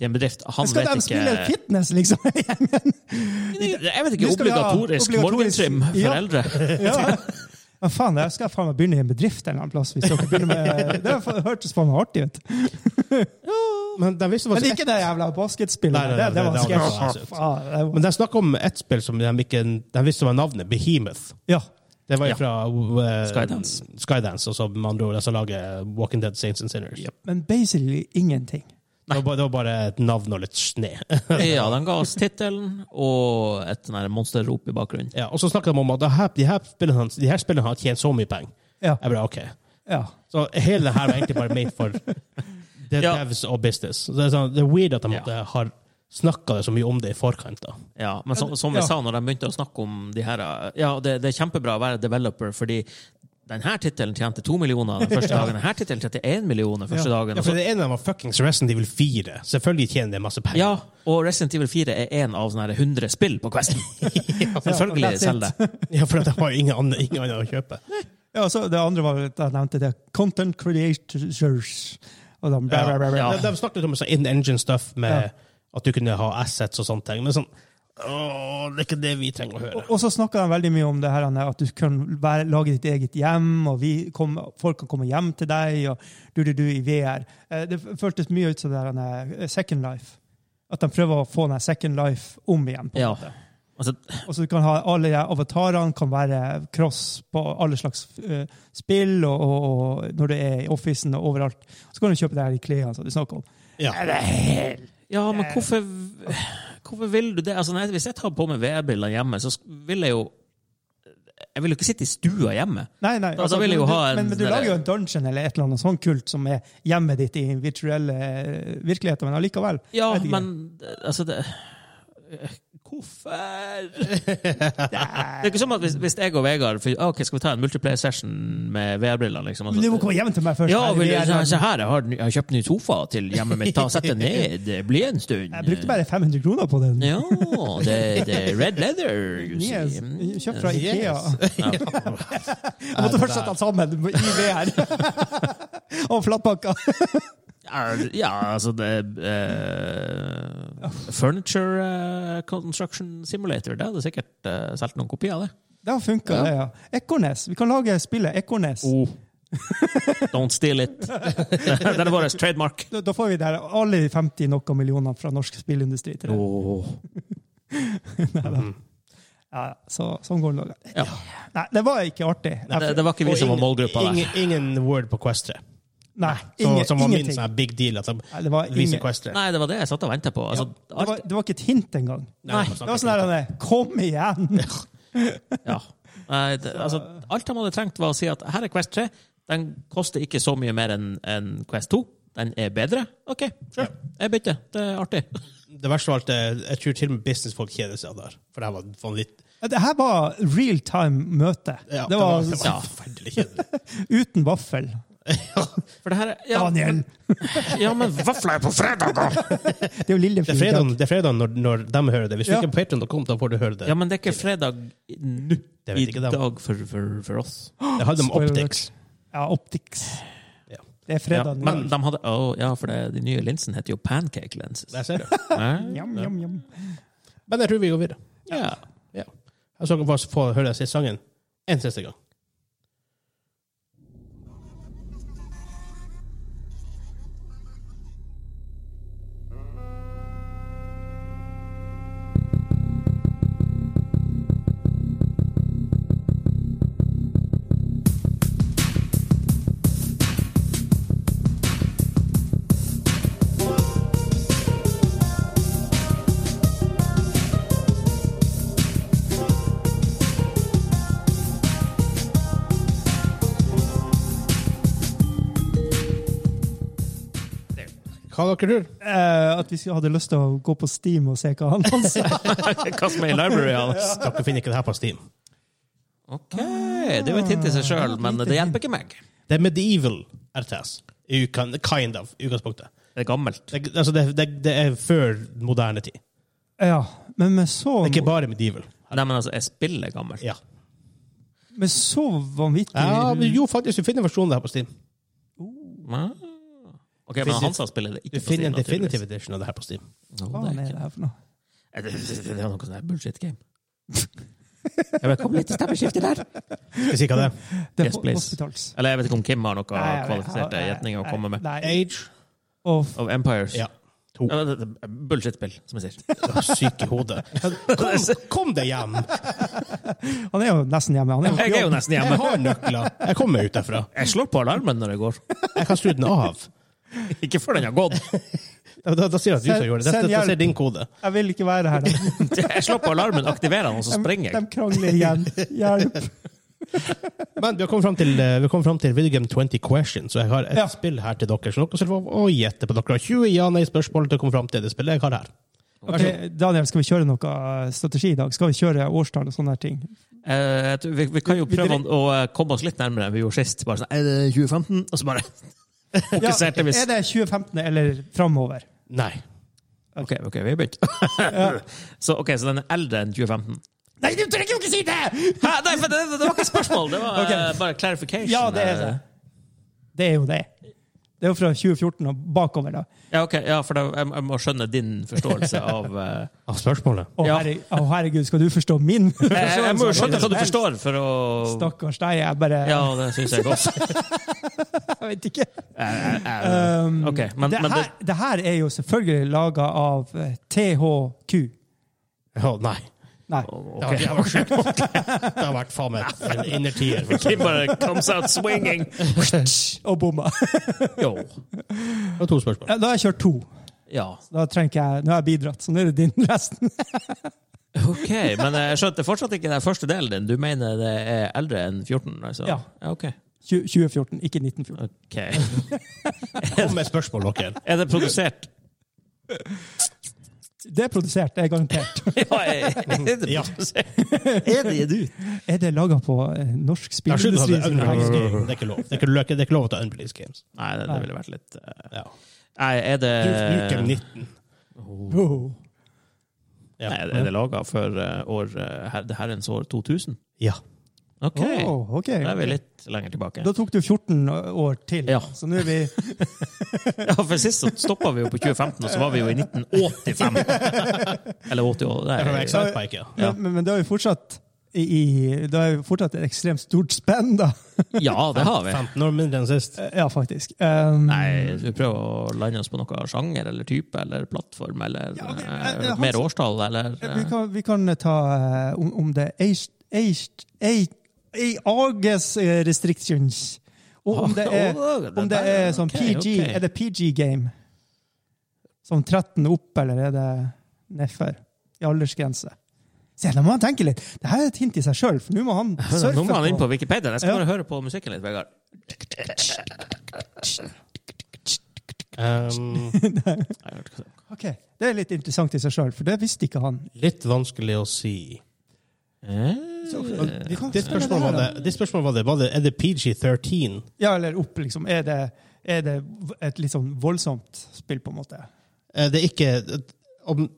C: til en bedrift, han
A: Skal
C: vet
A: de
C: ikke
A: spille fitness, liksom?
C: Jeg vet
A: Nå
C: ikke,
A: skal vi ha
C: obligatorisk
A: obligatorisk-
C: morgentrim for
A: Ja.
C: eldre?
A: ja. Ja, faen, jeg skal faen meg begynne i en bedrift en eller annen plass. Hvis dere begynner med, det hørtes faen meg artig ut.
B: Men de visste
A: Men
B: faktisk
A: ikke det jævla
B: Nei, nei,
A: basketspillet.
B: nei,
A: Det, det
B: det-
A: var
B: det var
A: sketsj.
B: sykt.
A: Ja, det var-
B: Men de snakka om ett spill som de ikke de visste var navnet. Behemoth.
A: Ja.
B: Det var
C: Ja.
B: jo fra eh,
C: Skydance.
B: Skydance, og så med andre ord, altså laget Walking Dead Saints and Sinners.
C: Yep.
A: Men basically ingenting.
B: Det, var bare, det var bare et navn og litt sne.
C: Ja, de ga oss tittelen og et sånn her monsterrop i bakgrunnen.
B: ja, og så snakket de om at det her, de, her spillene, hans- de her spillene har tjent så mye penger.
A: Ja.
B: Jeg bare, ok.
A: ja.
B: Så hele det her var egentlig bare ment for the
C: Ja.
B: devs og business. Så det, er sånn, det er weird at de
C: Ja.
B: måtte har snakka så mye om det i forkant. da.
C: Ja, men som, som vi
A: Ja.
C: sa når de begynte å snakke om de her Ja, det, det er kjempebra å være developer, fordi denne tittelen tjente to millioner den første dagen. Denne tittelen tjente én million den første
A: Ja.
C: dagen.
B: Ja,
C: og
B: for
C: så-
B: Det ene var fuckings Resident Evil 4. Selvfølgelig tjener det masse penger.
C: Ja, og Resident Evil 4 er én av sånne her 100 spill på Questen. Selvfølgelig
A: that's
C: selger det.
B: Ja, for at de har jo ingen andre, ingen andre å kjøpe.
A: ja og så det andre var at jeg nevnte det. Content creators. Og de, bla, bla, bla, bla.
C: Ja.
B: De, de snakket om sånn in-engine-stuff med
A: Ja.
B: at du kunne ha assets og sånne ting. Men sånn åh, det er ikke det vi trenger å høre.
A: Og- Og så snakka de veldig mye om det her, Anne, at du kan være, lage ditt eget hjem, og vi kom, folk kan komme hjem til deg, og du, du, du i VR. Eh, Det f- føltes mye ut som det her, Anne, eh, Second Life. At de prøver å få den Second Life om igjen. på en
C: Ja.
A: måte.
C: Altså,
A: Og så du kan ha alle de avatarene kan være cross på alle slags eh, spill, og, og, og når du er i officen og overalt. Så kan du kjøpe det her i klærne som du snakker om.
B: Ja.
C: ja, men hvorfor, hvorfor vil du det? Altså, nei, hvis jeg tar på meg VR-briller hjemme, så sk- vil jeg jo Jeg vil jo ikke sitte i stua hjemme.
A: Nei, nei. altså,
C: Da- da vil jeg jo
A: men du-
C: ha en
A: men, men du
C: sånn
A: lager jo
C: der-
A: en dungeon eller et eller annet sånn kult som er hjemmet ditt i den virtuelle eh, virkeligheten, men allikevel.
C: Ja,
A: Jeg vet ikke.
C: men altså det, Hvorfor? Det er ikke som at hvis, hvis jeg og Vegard for, Ok, skal vi ta en multiplayer session med VR-briller? liksom?
A: Du må komme hjem til meg først.
C: ja,
A: Nei,
C: vil,
A: vi er-
C: så, så her, jeg har, ny- jeg har kjøpt ny sofa til hjemmet mitt. Ta, Sett den ned, bli en stund.
A: jeg brukte bare 500 kroner på den.
C: Ja, det, det er red leather, you
A: Yes.
C: see.
A: Kjøpt fra
B: Yes.
A: Ikea.
C: Ja.
A: Jeg måtte først sette den sammen i VR. Og flatpakka.
C: Er- Ja, altså det eh, Furniture eh, Construction Simulator, det hadde sikkert uh, solgt noen kopier av det.
A: Det har funka, det, ja. Ekornes. Vi kan lage spillet Ekornes.
C: Oh. Don't steal it. Den er vår trademark.
A: Da, da får vi der alle de 50 noe millioner fra norsk spillindustri til det.
C: Oh.
A: Ja, så, sånn går det nå.
C: Ja.
A: Nei, det var ikke artig.
C: Det, det var ikke vi
B: Og
C: som var
B: ingen-
C: målgruppa der.
B: Ingen, ingen word på Quest 3.
A: Nei,
B: Så,
A: ingen,
B: som var min
A: ingenting.
B: sånn her big deal. At de
A: Nei, det var
B: viser
A: ingen-
B: Quest 3.
C: Nei, det var det jeg satt og venta på. Altså,
A: Det var,
C: alt,
A: det var ikke et hint engang.
B: Nei,
A: Det var sånn der Kom igjen!
C: ja. Nei, det, altså, alt de hadde trengt, var å si at her er Quest 3. Den koster ikke så mye mer enn enn Quest 2. Den er bedre. OK, sure. Jeg bytter. Det er artig.
B: Det verste av alt er jeg tror til og med businessfolk kjeder seg der. For det her var faen litt
A: Det her var real time møte.
B: ja,
A: det var
B: det
C: Ja.
B: var forferdelig kjedelig.
A: uten vaffel.
C: For det her er ja,
A: Daniel!
C: ja, men vafler på fredager!
A: Det er jo
B: Det er
A: lillefri
B: fredagen, det er fredagen når, når de hører det. Hvis du
A: Ja.
B: ikke er på Patreon.com, da får du høre det.
C: Ja, men det er ikke fredag nå.
B: Det
C: I
B: vet ikke de.
C: dag for, for, for oss.
B: Det handler om
A: Spoiler
B: optics.
A: Ja, optics.
B: Ja.
A: Det er
C: Ja,
A: fredag. nå.
C: men de hadde Å, ja, for det, de nye linsene heter jo pancake lenses.
B: Der ser du.
C: Nei?
A: Njam, njam, njam.
B: Men jeg tror vi går videre.
C: Ja.
B: Ja. Jeg skal bare få høre den siste sangen en siste gang. Hva dere tror
A: Eh, at vi hadde lyst til å gå på Steam og se hva han sa.
C: Kast meg i library, Alex.
B: Dere finner ikke det her på Steam.
C: OK. Det er jo et hint i seg sjøl, men det hjelper ikke meg.
B: Det er medieval RTS. I ukan- Kind of. i Utgangspunktet.
C: Det er gammelt.
B: Det, altså det, det, det er før moderne tid. Det
A: ja, men med så,
B: er ikke bare medieval.
C: Nei, men altså, jeg spiller gammelt.
B: Ja.
A: med så vanvittig
B: ja men jo, faktisk, du finner versjonen der på Steam.
C: Ah. OK, men
B: Finnes-
C: han som spiller det
B: Du
C: ikke på
B: finner
C: Steam,
B: en definitive
C: naturligvis.
B: edition av det her på Steam.
A: Hva
C: No,
A: faen er
C: det, er
A: det
C: ikke.
A: her for noe?
C: Eh, det, det, det er noe sånn her bullshit game. Jeg bare, Kom litt til stemmeskifte der!
B: Skal jeg si hva det er?
A: Det er
C: Yes, please.
A: Hospitals.
C: Eller jeg vet ikke om Kim har noen
A: Nei, jeg vet-
C: kvalifiserte
A: nei,
C: gjetninger å komme med.
A: Nei.
B: Age
A: Og f-
C: Of Empires.
B: Ja. to.
C: Ja, det- det- Bullshit-spill, som jeg sier.
B: Syk i hodet. Kom, kom deg hjem!
A: Han er jo nesten hjemme. Han er jo på
C: Jeg er jo
A: jobb.
C: nesten
B: Jeg
C: hjemme.
B: har nøkler. Jeg kommer meg ut derfra.
C: Jeg slår på alarmen når jeg går.
B: Jeg kan skru den av.
C: Ikke før den har gått.
B: Da, da, da sier jeg at du som gjorde det.
A: Send
B: Dette, dette
A: hjelp.
B: er din kode.
A: Jeg vil ikke være her. da.
C: Jeg slår på alarmen, aktiverer den, og så springer
A: De
C: jeg.
A: krangler igjen. Hjelp.
B: Men vi har kommet fram til, eh, vi har kommet fram til Video Game 20 Questions, og jeg har et
A: Ja.
B: spill her til dere. Så dere skal få å gjette på dere. har 20 ja-nei-spørsmål til å komme fram til det spillet jeg har her.
A: Ok, Daniel, skal vi kjøre noe strategi i dag? Skal vi kjøre årstall og sånne her ting?
C: Eh, jeg tror vi, vi kan jo
A: Vi- vi
C: prøve å, å eh, komme oss litt nærmere enn vi gjorde sist. Bare sånn, er det 2015? Og så bare fokuserte vi.
A: er det 2015 eller framover?
B: Nei.
C: Ok, ok, vi har begynt. så, ok, så den er eldre enn 2015? Nei, du trenger jo ikke si det! Hæ, nei, for det, det var ikke et spørsmål, det var
A: Ok.
C: eh, bare clarification.
A: Ja, det er det. Det er jo det. Det er jo fra 2014 og bakover, da.
C: Ja, ok, ja for da, jeg, jeg må skjønne din forståelse av eh,
B: Av spørsmålet?
A: Å,
C: Ja.
A: herre, å, herregud, skal du forstå min?
C: jeg, jeg må jo skjønne hva du forstår, for å
A: Stakkars deg, jeg bare
C: Ja, det syns jeg godt.
A: Jeg vet ikke.
C: Eh, eh,
A: Um,
C: Ok, men,
A: det,
C: men det,
A: her, det her er jo selvfølgelig laga av eh, THQ.
B: Å, nei.
A: Nei.
B: Det har,
C: ok.
B: det har vært sjukt. nok. Det har vært faen meg en innertier.
C: Kim bare comes out swinging.
A: Og bomma.
C: Jo.
B: Det var to spørsmål.
A: Da har jeg kjørt to.
C: Ja.
A: Da trenger ikke jeg, nå har jeg bidratt, så nå er det din resten.
C: Ok, men jeg skjønte fortsatt ikke den første delen din. Du mener det er eldre enn 14? Altså.
A: Ja.
C: ok.
A: 20- 2014, ikke 1914.
C: Ok. Er
B: Kom med spørsmål, dere.
C: det produsert?
A: Det er produsert, det er garantert.
C: Ja, er det
B: Ja.
C: produsert? Er det du?
A: Er det laga på eh, norsk
B: Jeg skylder
A: spillindustri?
B: at det er Unreleased Games. Det er ikke lov. Det er ikke, det er ikke lov å ta Unreleased Games.
C: Nei, det, det ville vært litt eh,
B: Ja.
C: Nei, er det
B: Bruk
C: Eh,
B: Game 19.
A: Oh.
B: Ja.
C: Nei, er det laga for eh, år, eh, her- det herrens år 2000?
B: ja.
C: OK.
A: Oh, ok.
C: Da er vi litt lenger tilbake.
A: Da tok du 14 år til,
C: Ja.
A: så nå er vi
C: Ja, for sist så stoppa vi jo på 2015, og så var vi jo i 1985. Eller 80 år.
B: Det var
C: Nei,
B: Excite Bike, ja.
C: Ja.
A: Men, men, men da er vi fortsatt i, i Da er vi fortsatt et ekstremt stort spenn, da. Eh,
C: ja, det har vi.
B: 15 år mindre enn sist.
A: Ja, faktisk. Um,
C: Nei, vi prøver å lande oss på noe sjanger eller type eller plattform eller
A: Ja, men,
C: eh,
A: eh, Hans-
C: mer årstall eller
A: Vi
C: eh,
A: kan, vi kan ta eh, om, om det AGs restrictions. Og om det er,
C: eh, Åh, det
A: om det
C: der,
A: er sånn
C: ok,
A: PG
C: ok.
A: Er det PG-game? Som 13 Sånn opp, eller er det nedfor? I aldersgrense. Se, da må han tenke litt. Dette er et hint i seg sjøl, for nå må han surfe
C: Nå må han inn
A: på.
C: på Wikipedia. Jeg skal
A: Ja.
C: bare høre på musikken litt, Vegard.
B: Um,
C: Nei, jeg vet ikke hva det er.
A: Ok, Det er litt interessant i seg sjøl, for det visste ikke han.
B: litt vanskelig å si.
C: Eh.
A: Så-
B: Men Ditt ditt spørsmål var Eh, det, ditt spørsmål var det, var det er det PG-13?
A: Ja, eller opp, liksom. Er det, er det et litt sånn voldsomt spill, på en måte?
B: Eh, Det er ikke om,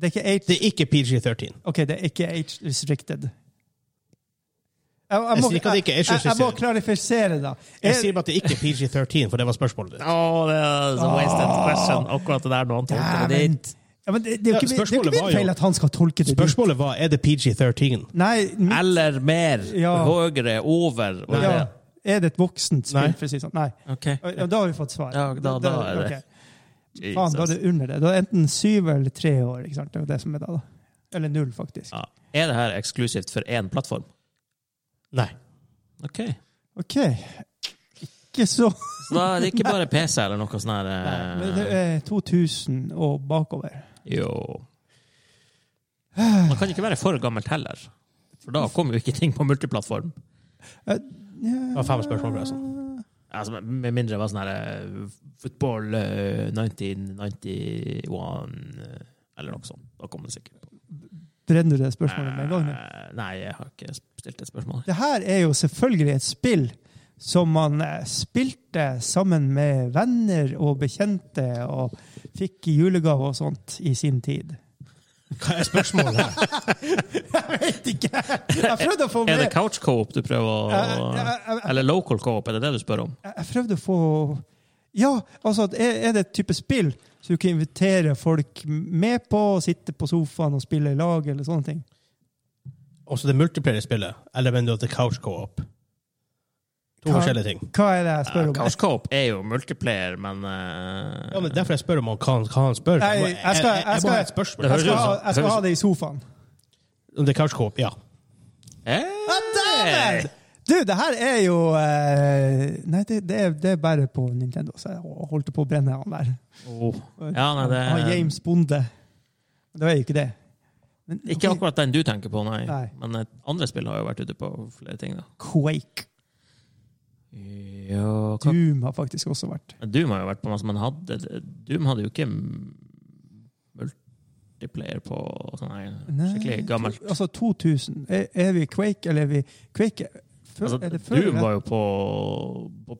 A: Det er ikke age
B: Det er ikke PG-13.
A: OK, det er ikke age restricted. Jeg, jeg,
B: Jeg
A: må,
B: sier
A: jeg,
B: ikke at det ikke er age
A: jeg, jeg må
B: restricted.
A: klarifisere, da.
B: Jeg
A: Er-
B: sier bare at det er ikke PG-13, for det var spørsmålet ditt.
C: Å, det er så wasted question. Akkurat det der når han tolker det
A: Dæven.
C: dit.
A: Ah. ja, men det, det er jo
B: Ja,
A: ikke, min- det er jo
B: spørsmålet
A: ikke
B: var
A: min
B: jo-
A: feil at han skal tolke det dit.
B: Spørsmålet var er det PG-13.
A: Nei, min-
C: Eller mer.
A: Ja.
C: Høyere. Over. var
A: ja.
C: det?
A: Er det et voksent
B: Nei.
A: spill, for å si det sånn? Nei.
C: Ok.
A: Ja, da har vi fått svar.
C: Ja, da- da er det-
A: ok. Faen, da er det under det. Da er det enten syv eller tre år. ikke sant? Det er jo det som er da, da. Eller null, faktisk.
C: Ja. Er det her eksklusivt for én plattform?
B: Nei.
C: OK.
A: OK. Ikke så
C: Så da er det ikke bare PC eller noe sånn her
A: Nei,
C: eh,
A: Men det er 2000 og bakover.
C: Jo. Man kan ikke være for gammelt heller. For da kommer jo ikke ting på multiplattform.
B: Det var fem spørsmål. forresten.
C: Altså, med- med mindre det var sånn her eh, Football eh, 1991 eh, eller noe sånt. Da kommer det sikkert på.
A: Brenner du det spørsmålet med en gang?
C: Eh, Nei, jeg har ikke stilt et spørsmål.
A: Det her er jo selvfølgelig et spill som man eh, spilte sammen med venner og bekjente og fikk i julegave og sånt i sin tid.
B: Hva er spørsmålet her?
A: Jeg vet ikke! Jeg prøvde å få
C: Er
A: med
C: det couch co-op du prøver
A: Jeg-
C: å
A: jeg- jeg-
C: Eller local co-op, er det det du spør om?
A: Jeg jeg prøvde å få Ja, altså, at er er det et type spill så du kan invitere folk med på, sitte på sofaen og spille i lag, eller sånne ting?
B: Også det multiplayer-spillet. Eller mener du at det er couch co-op? om forskjellige ting.
A: Hva er det jeg spør om?
C: Couch Coop er jo multiplayer, men eh,
B: Ja, men Derfor jeg spør om han- hva han, hva han spør.
A: Nei,
B: må-
A: jeg skal- jeg
B: må
A: skal-
B: ha et spørsmål.
C: Det
A: Jeg skal,
C: høres
A: ha,
C: ut som-
A: jeg skal ha det i sofaen.
B: Om det er couch co-op, ja.
C: hey!
A: Ah, Du, det her er jo eh, Nei, det, det, er, det er bare på Nintendo. Så jeg holdt på å brenne han der.
C: oh. Ja, nei, det
A: Han James Bonde. Men Det var jo ikke det. Men,
C: Ikke akkurat den du tenker på, nei.
A: Nei.
C: Men eh, andre spill har jo vært ute på flere ting, da.
A: Quake.
C: Ja, hva
A: Doom har faktisk også vært.
C: Doom har jo vært på masse, men hadde, Doom hadde jo ikke multiplayer på sånn her
A: Nei,
C: skikkelig gammelt.
A: to- Altså 2000. Er, er vi Quake, eller er vi Quake er- før,
C: Altså,
A: er det før,
C: Doom
A: eller?
C: var jo på, på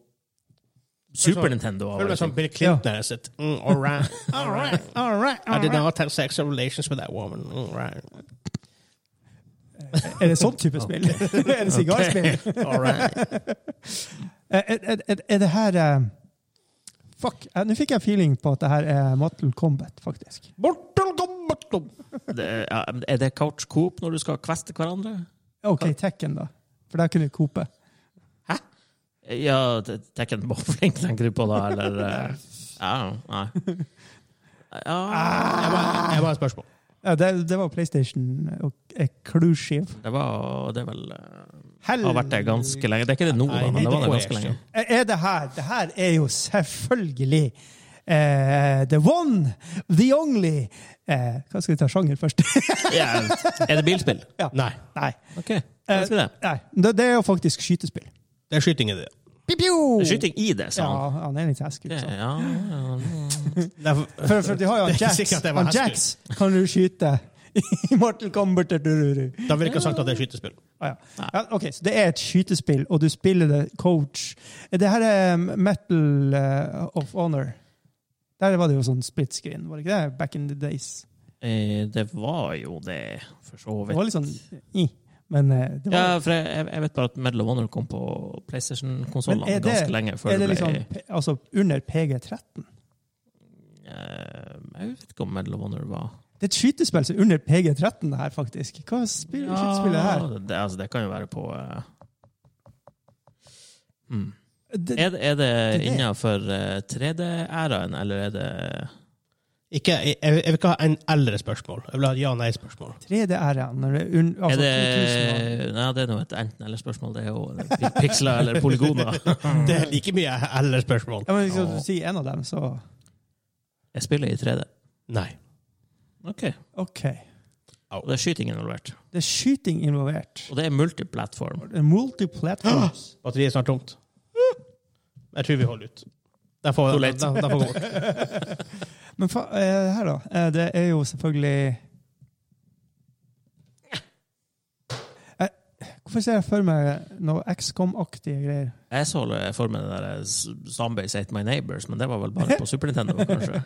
C: Super
B: Føler
C: Nintendo.
B: Føler meg som Bill Clinton. jeg sitter. Mm, all right. All right.
A: All right, all
B: I did
A: right.
B: not have sexual relations with that woman. All right.
A: Er det sånn type spill? er det sigarspill?
B: All right.
A: Er, er, er, er det her eh, Fuck, eh, nå fikk jeg feeling på at det her er Mortal Kombat, faktisk.
B: Mortal Kombat.
C: Det, ja, men er det couch coop når du skal kveste hverandre?
A: OK, Tekken, da. For der kunne du cope.
C: Ja, det- Tekken Bowling tenker du på da, eller eh, Ja, nei.
A: Ah.
C: Ja,
B: Jeg må jeg må ha et spørsmål.
A: Ja, det, det var PlayStation og Exclusive.
C: det var Det er vel eh,
A: Hell-
C: Har vært det ganske lenge. Det er ikke det nå, da,
B: Nei,
C: men det var det
B: det er
C: ganske lenge.
A: er det her Det her er jo selvfølgelig eh, the one, the only eh, Hva skal vi ta sjanger først?
C: Ja. Er det bilspill?
B: Nei,
A: nei. Eh,
C: OK. da skal vi det.
A: nei. Det, det er jo faktisk skytespill.
B: det er skyting i det.
C: Det er skyting i det, sa
A: Ja,
C: han.
A: han er litt heskel.
C: Det,
A: så.
C: ja, ja.
B: Det er-
A: For, for de har jo han
B: Det er ikke
A: Jax.
B: sikkert det var
A: Han
B: heskel.
A: Jax kan du skyte i Mortal Kombat. du, du, du.
B: Da ville jeg ikke ha sagt at det er skytespill.
A: Ah, ja. Ja, ok, så Det er et skytespill, og du spiller det coach. Det her er um, Metal uh, of Honor. Der var det jo sånn split screen, var det ikke det? Back in the days.
C: Eh, det var jo det, for så
A: Det var
C: vidt.
A: litt sånn i, men eh, det var,
C: Ja, for jeg, jeg- jeg vet bare at Medal of Honor kom på
A: Men
C: PlayStation-konsollene
A: er det-
C: ganske lenge før
A: er
C: det
A: det
C: ble
A: liksom p- altså, under PG13?
C: eh, Jeg vet ikke om Medal of Honor var
A: Det er et skytespill som er under PG13, det her, faktisk. Hva spiller skytespill er det her?
C: det, altså, det kan jo være på eh, mm.
A: Det,
C: Er det, er det
A: det-
C: innafor 3D-æraen, eller er det
B: Ikke, jeg, jeg vil ikke ha en eldre spørsmål. Jeg vil ha et ja-nei-spørsmål.
A: 3D-æraen, når det er un,
C: Er
A: altså, 2000
C: det, nei, det er nå et enten-eller-spørsmål. Det er jo pi- piksler eller polygoner.
A: Mm.
B: Det er like mye eller-spørsmål.
A: Ja, men Hvis du sier en av dem, så
C: Jeg spiller i 3D.
B: Nei.
C: Ok. Og
A: OK.
C: det er skyting involvert.
A: Det er skyting involvert.
C: Og det er multiplattform.
A: Det er Multiplatforms.
B: Batteriet er snart tomt. Mm. Jeg tror vi holder ut. Den får,
C: Too
B: den,
C: late.
B: den, den får gå.
A: Men fa eh, det her, da. eh, Det er jo selvfølgelig Eh, Hvorfor ser jeg for meg noe XCOM-aktige greier?
C: Jeg så det for meg det der eh, s- Zombies Ate My Neighbors, men det var vel bare på Super Nintendo, kanskje.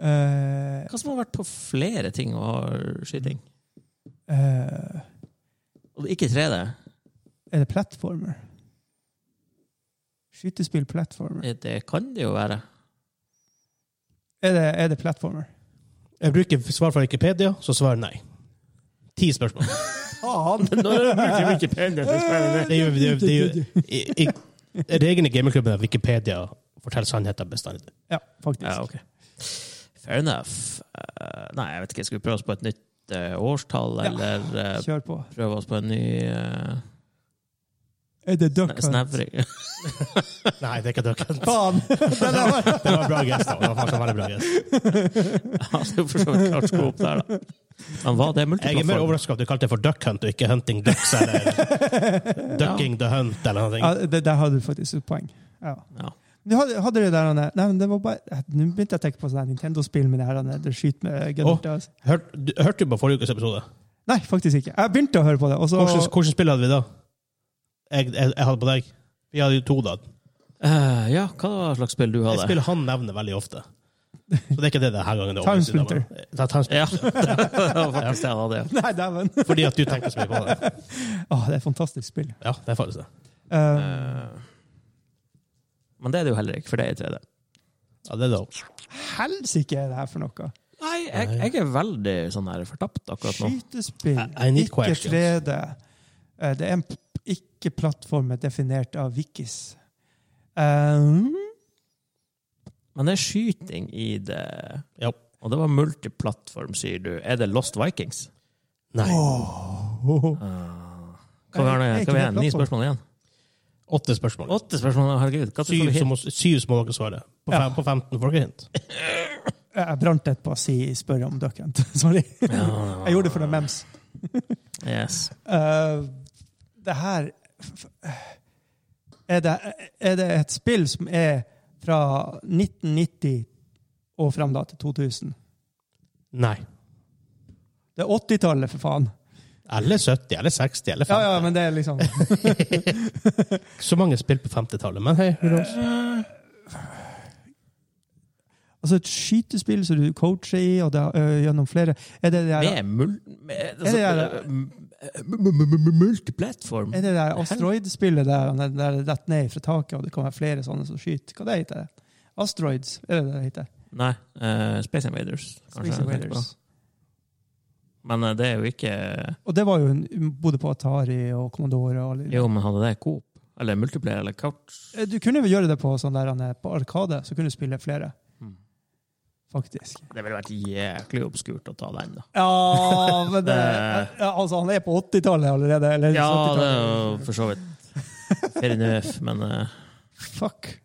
A: Eh,
C: Hva som har vært på flere ting og har skyting?
A: eh,
C: Og det er ikke 3D.
A: er det platformer? Skytespill-platformer.
C: Eh, Det kan det jo være.
A: Er det, er det platformer?
B: Jeg bruker svar fra Wikipedia, så svarer nei. Ti spørsmål. Det er jo, det er jo, det er jo i, i, Reglene i gamingklubben er at Wikipedia forteller sannheten bestandig.
A: Ja, faktisk.
C: Ja, ok. Fair enough. Eh, nei, jeg vet ikke. Skal vi prøve oss på et nytt eh, årstall,
A: Ja.
C: eller eh,
A: Kjør på.
C: prøve oss på en ny eh,
A: Er det Duck Hunt?
C: snevring?
B: Nei, det er ikke dere.
A: Faen!
B: Det var en bra gest. da. Det var faktisk en veldig bra gest.
C: Ja, det er for så vidt klart skop der, da. Men hva, det er
B: Jeg er mer
C: multiplattform.
B: overrasket over at du kalte det for duck hunt og ikke hunting ducks eller ducking the hunt eller noe.
A: Ja, det, der hadde du faktisk et poeng. Ja.
C: Ja.
A: Du hadde, hadde det der, Anne. Nei, men det var bare, eh, Nå begynte jeg å tenke på sånne Nintendo-spill med det her, Anne. Du skyter med gunner.
B: Åh.
A: til oss.
B: Hør, du, hørte du på forrige ukes episode?
A: Nei, faktisk ikke. Jeg begynte å høre på det, og så
B: Hvordan, hvordan spill hadde vi da? Jeg, jeg, jeg hadde på deg. Vi hadde jo to da.
C: Eh, ja, hva slags spill du
B: Et
C: hadde?
B: spill han nevner veldig ofte. Så det er ikke det denne gangen. det er
A: Time
B: overraskende,
A: Splinter.
B: men- Ja, Time Splinter.
C: Ja, det var faktisk det jeg hadde. ja.
A: Nei, dæven.
B: Fordi at du tenker så mye på det.
A: Åh, det er et fantastisk spill.
B: Ja, det er faktisk det.
A: Eh,
C: Eh, Men det er det jo heller ikke, for det er i 3D.
B: Ja, det er det. også.
A: Helsike, er det her for noe?
C: Nei, jeg, jeg er veldig sånn her fortapt akkurat nå.
A: Skytespill,
B: I- I need
A: ikke
B: questions.
A: 3D. Eh, Det er en p- ikke plattformer definert av wikis. Um,
C: Men det er skyting i det.
B: Ja.
C: Og det var multiplattform, sier du. Er det Lost Vikings?
B: Nei.
C: Hva var det?
A: Er ikke
C: Hva var
A: det
C: det? Ni
A: plattform?
C: spørsmål igjen.
B: Åtte spørsmål.
C: Åtte spørsmål, herregud. Hva
B: Syv,
C: skal vi
B: som, må- syv som må dere svare. På,
A: Ja.
B: fem, på 15 får dere hint.
A: jeg brant et på å si spørre om Duckhunt. Sorry. Jeg gjorde det for noen mems.
C: Yes.
A: Eh, det her er det, er det et spill som er fra 1990 og fram da til 2000?
B: Nei.
A: Det er 80-tallet, for faen.
B: Eller 70, eller 60, eller 50.
A: Ja, ja, men det er liksom
B: Ikke Så mange spill på 50-tallet, men hei.
A: eh,
B: who knows?
A: Altså et skytespill som du coacher i, og det er, ø, gjennom flere Er det det der,
C: Med mul...
A: Er
C: Med,
A: det
C: altså, m- m- m- multiplattform.
A: er det der asteroidspillet der han der detter ned fra taket, og det kan være flere sånne som skyter? Hva det heter det? Asteroids, er det det det heter?
C: Nei. eh, Space Invaders, kanskje.
A: Space
C: jeg tenker
A: Invaders.
C: på. Men eh, det er jo ikke
A: Og det var jo en, både på Atari og Commodore og
C: Jo, men hadde det Coop? Eller multiplayer eller couch?
A: Eh, Du kunne vel gjøre det på, sånn der, han er på Arkade, så kunne du spille flere.
C: Mm.
A: Faktisk.
C: Det ville vært jæklig obskurt å ta den, da.
A: Ja, men det,
C: Det-
A: ja, altså, han er på 80-tallet allerede. Eller
C: Ja, det
A: 70-tallet.
C: er jo for så vidt fair enough, men eh,
A: Fuck.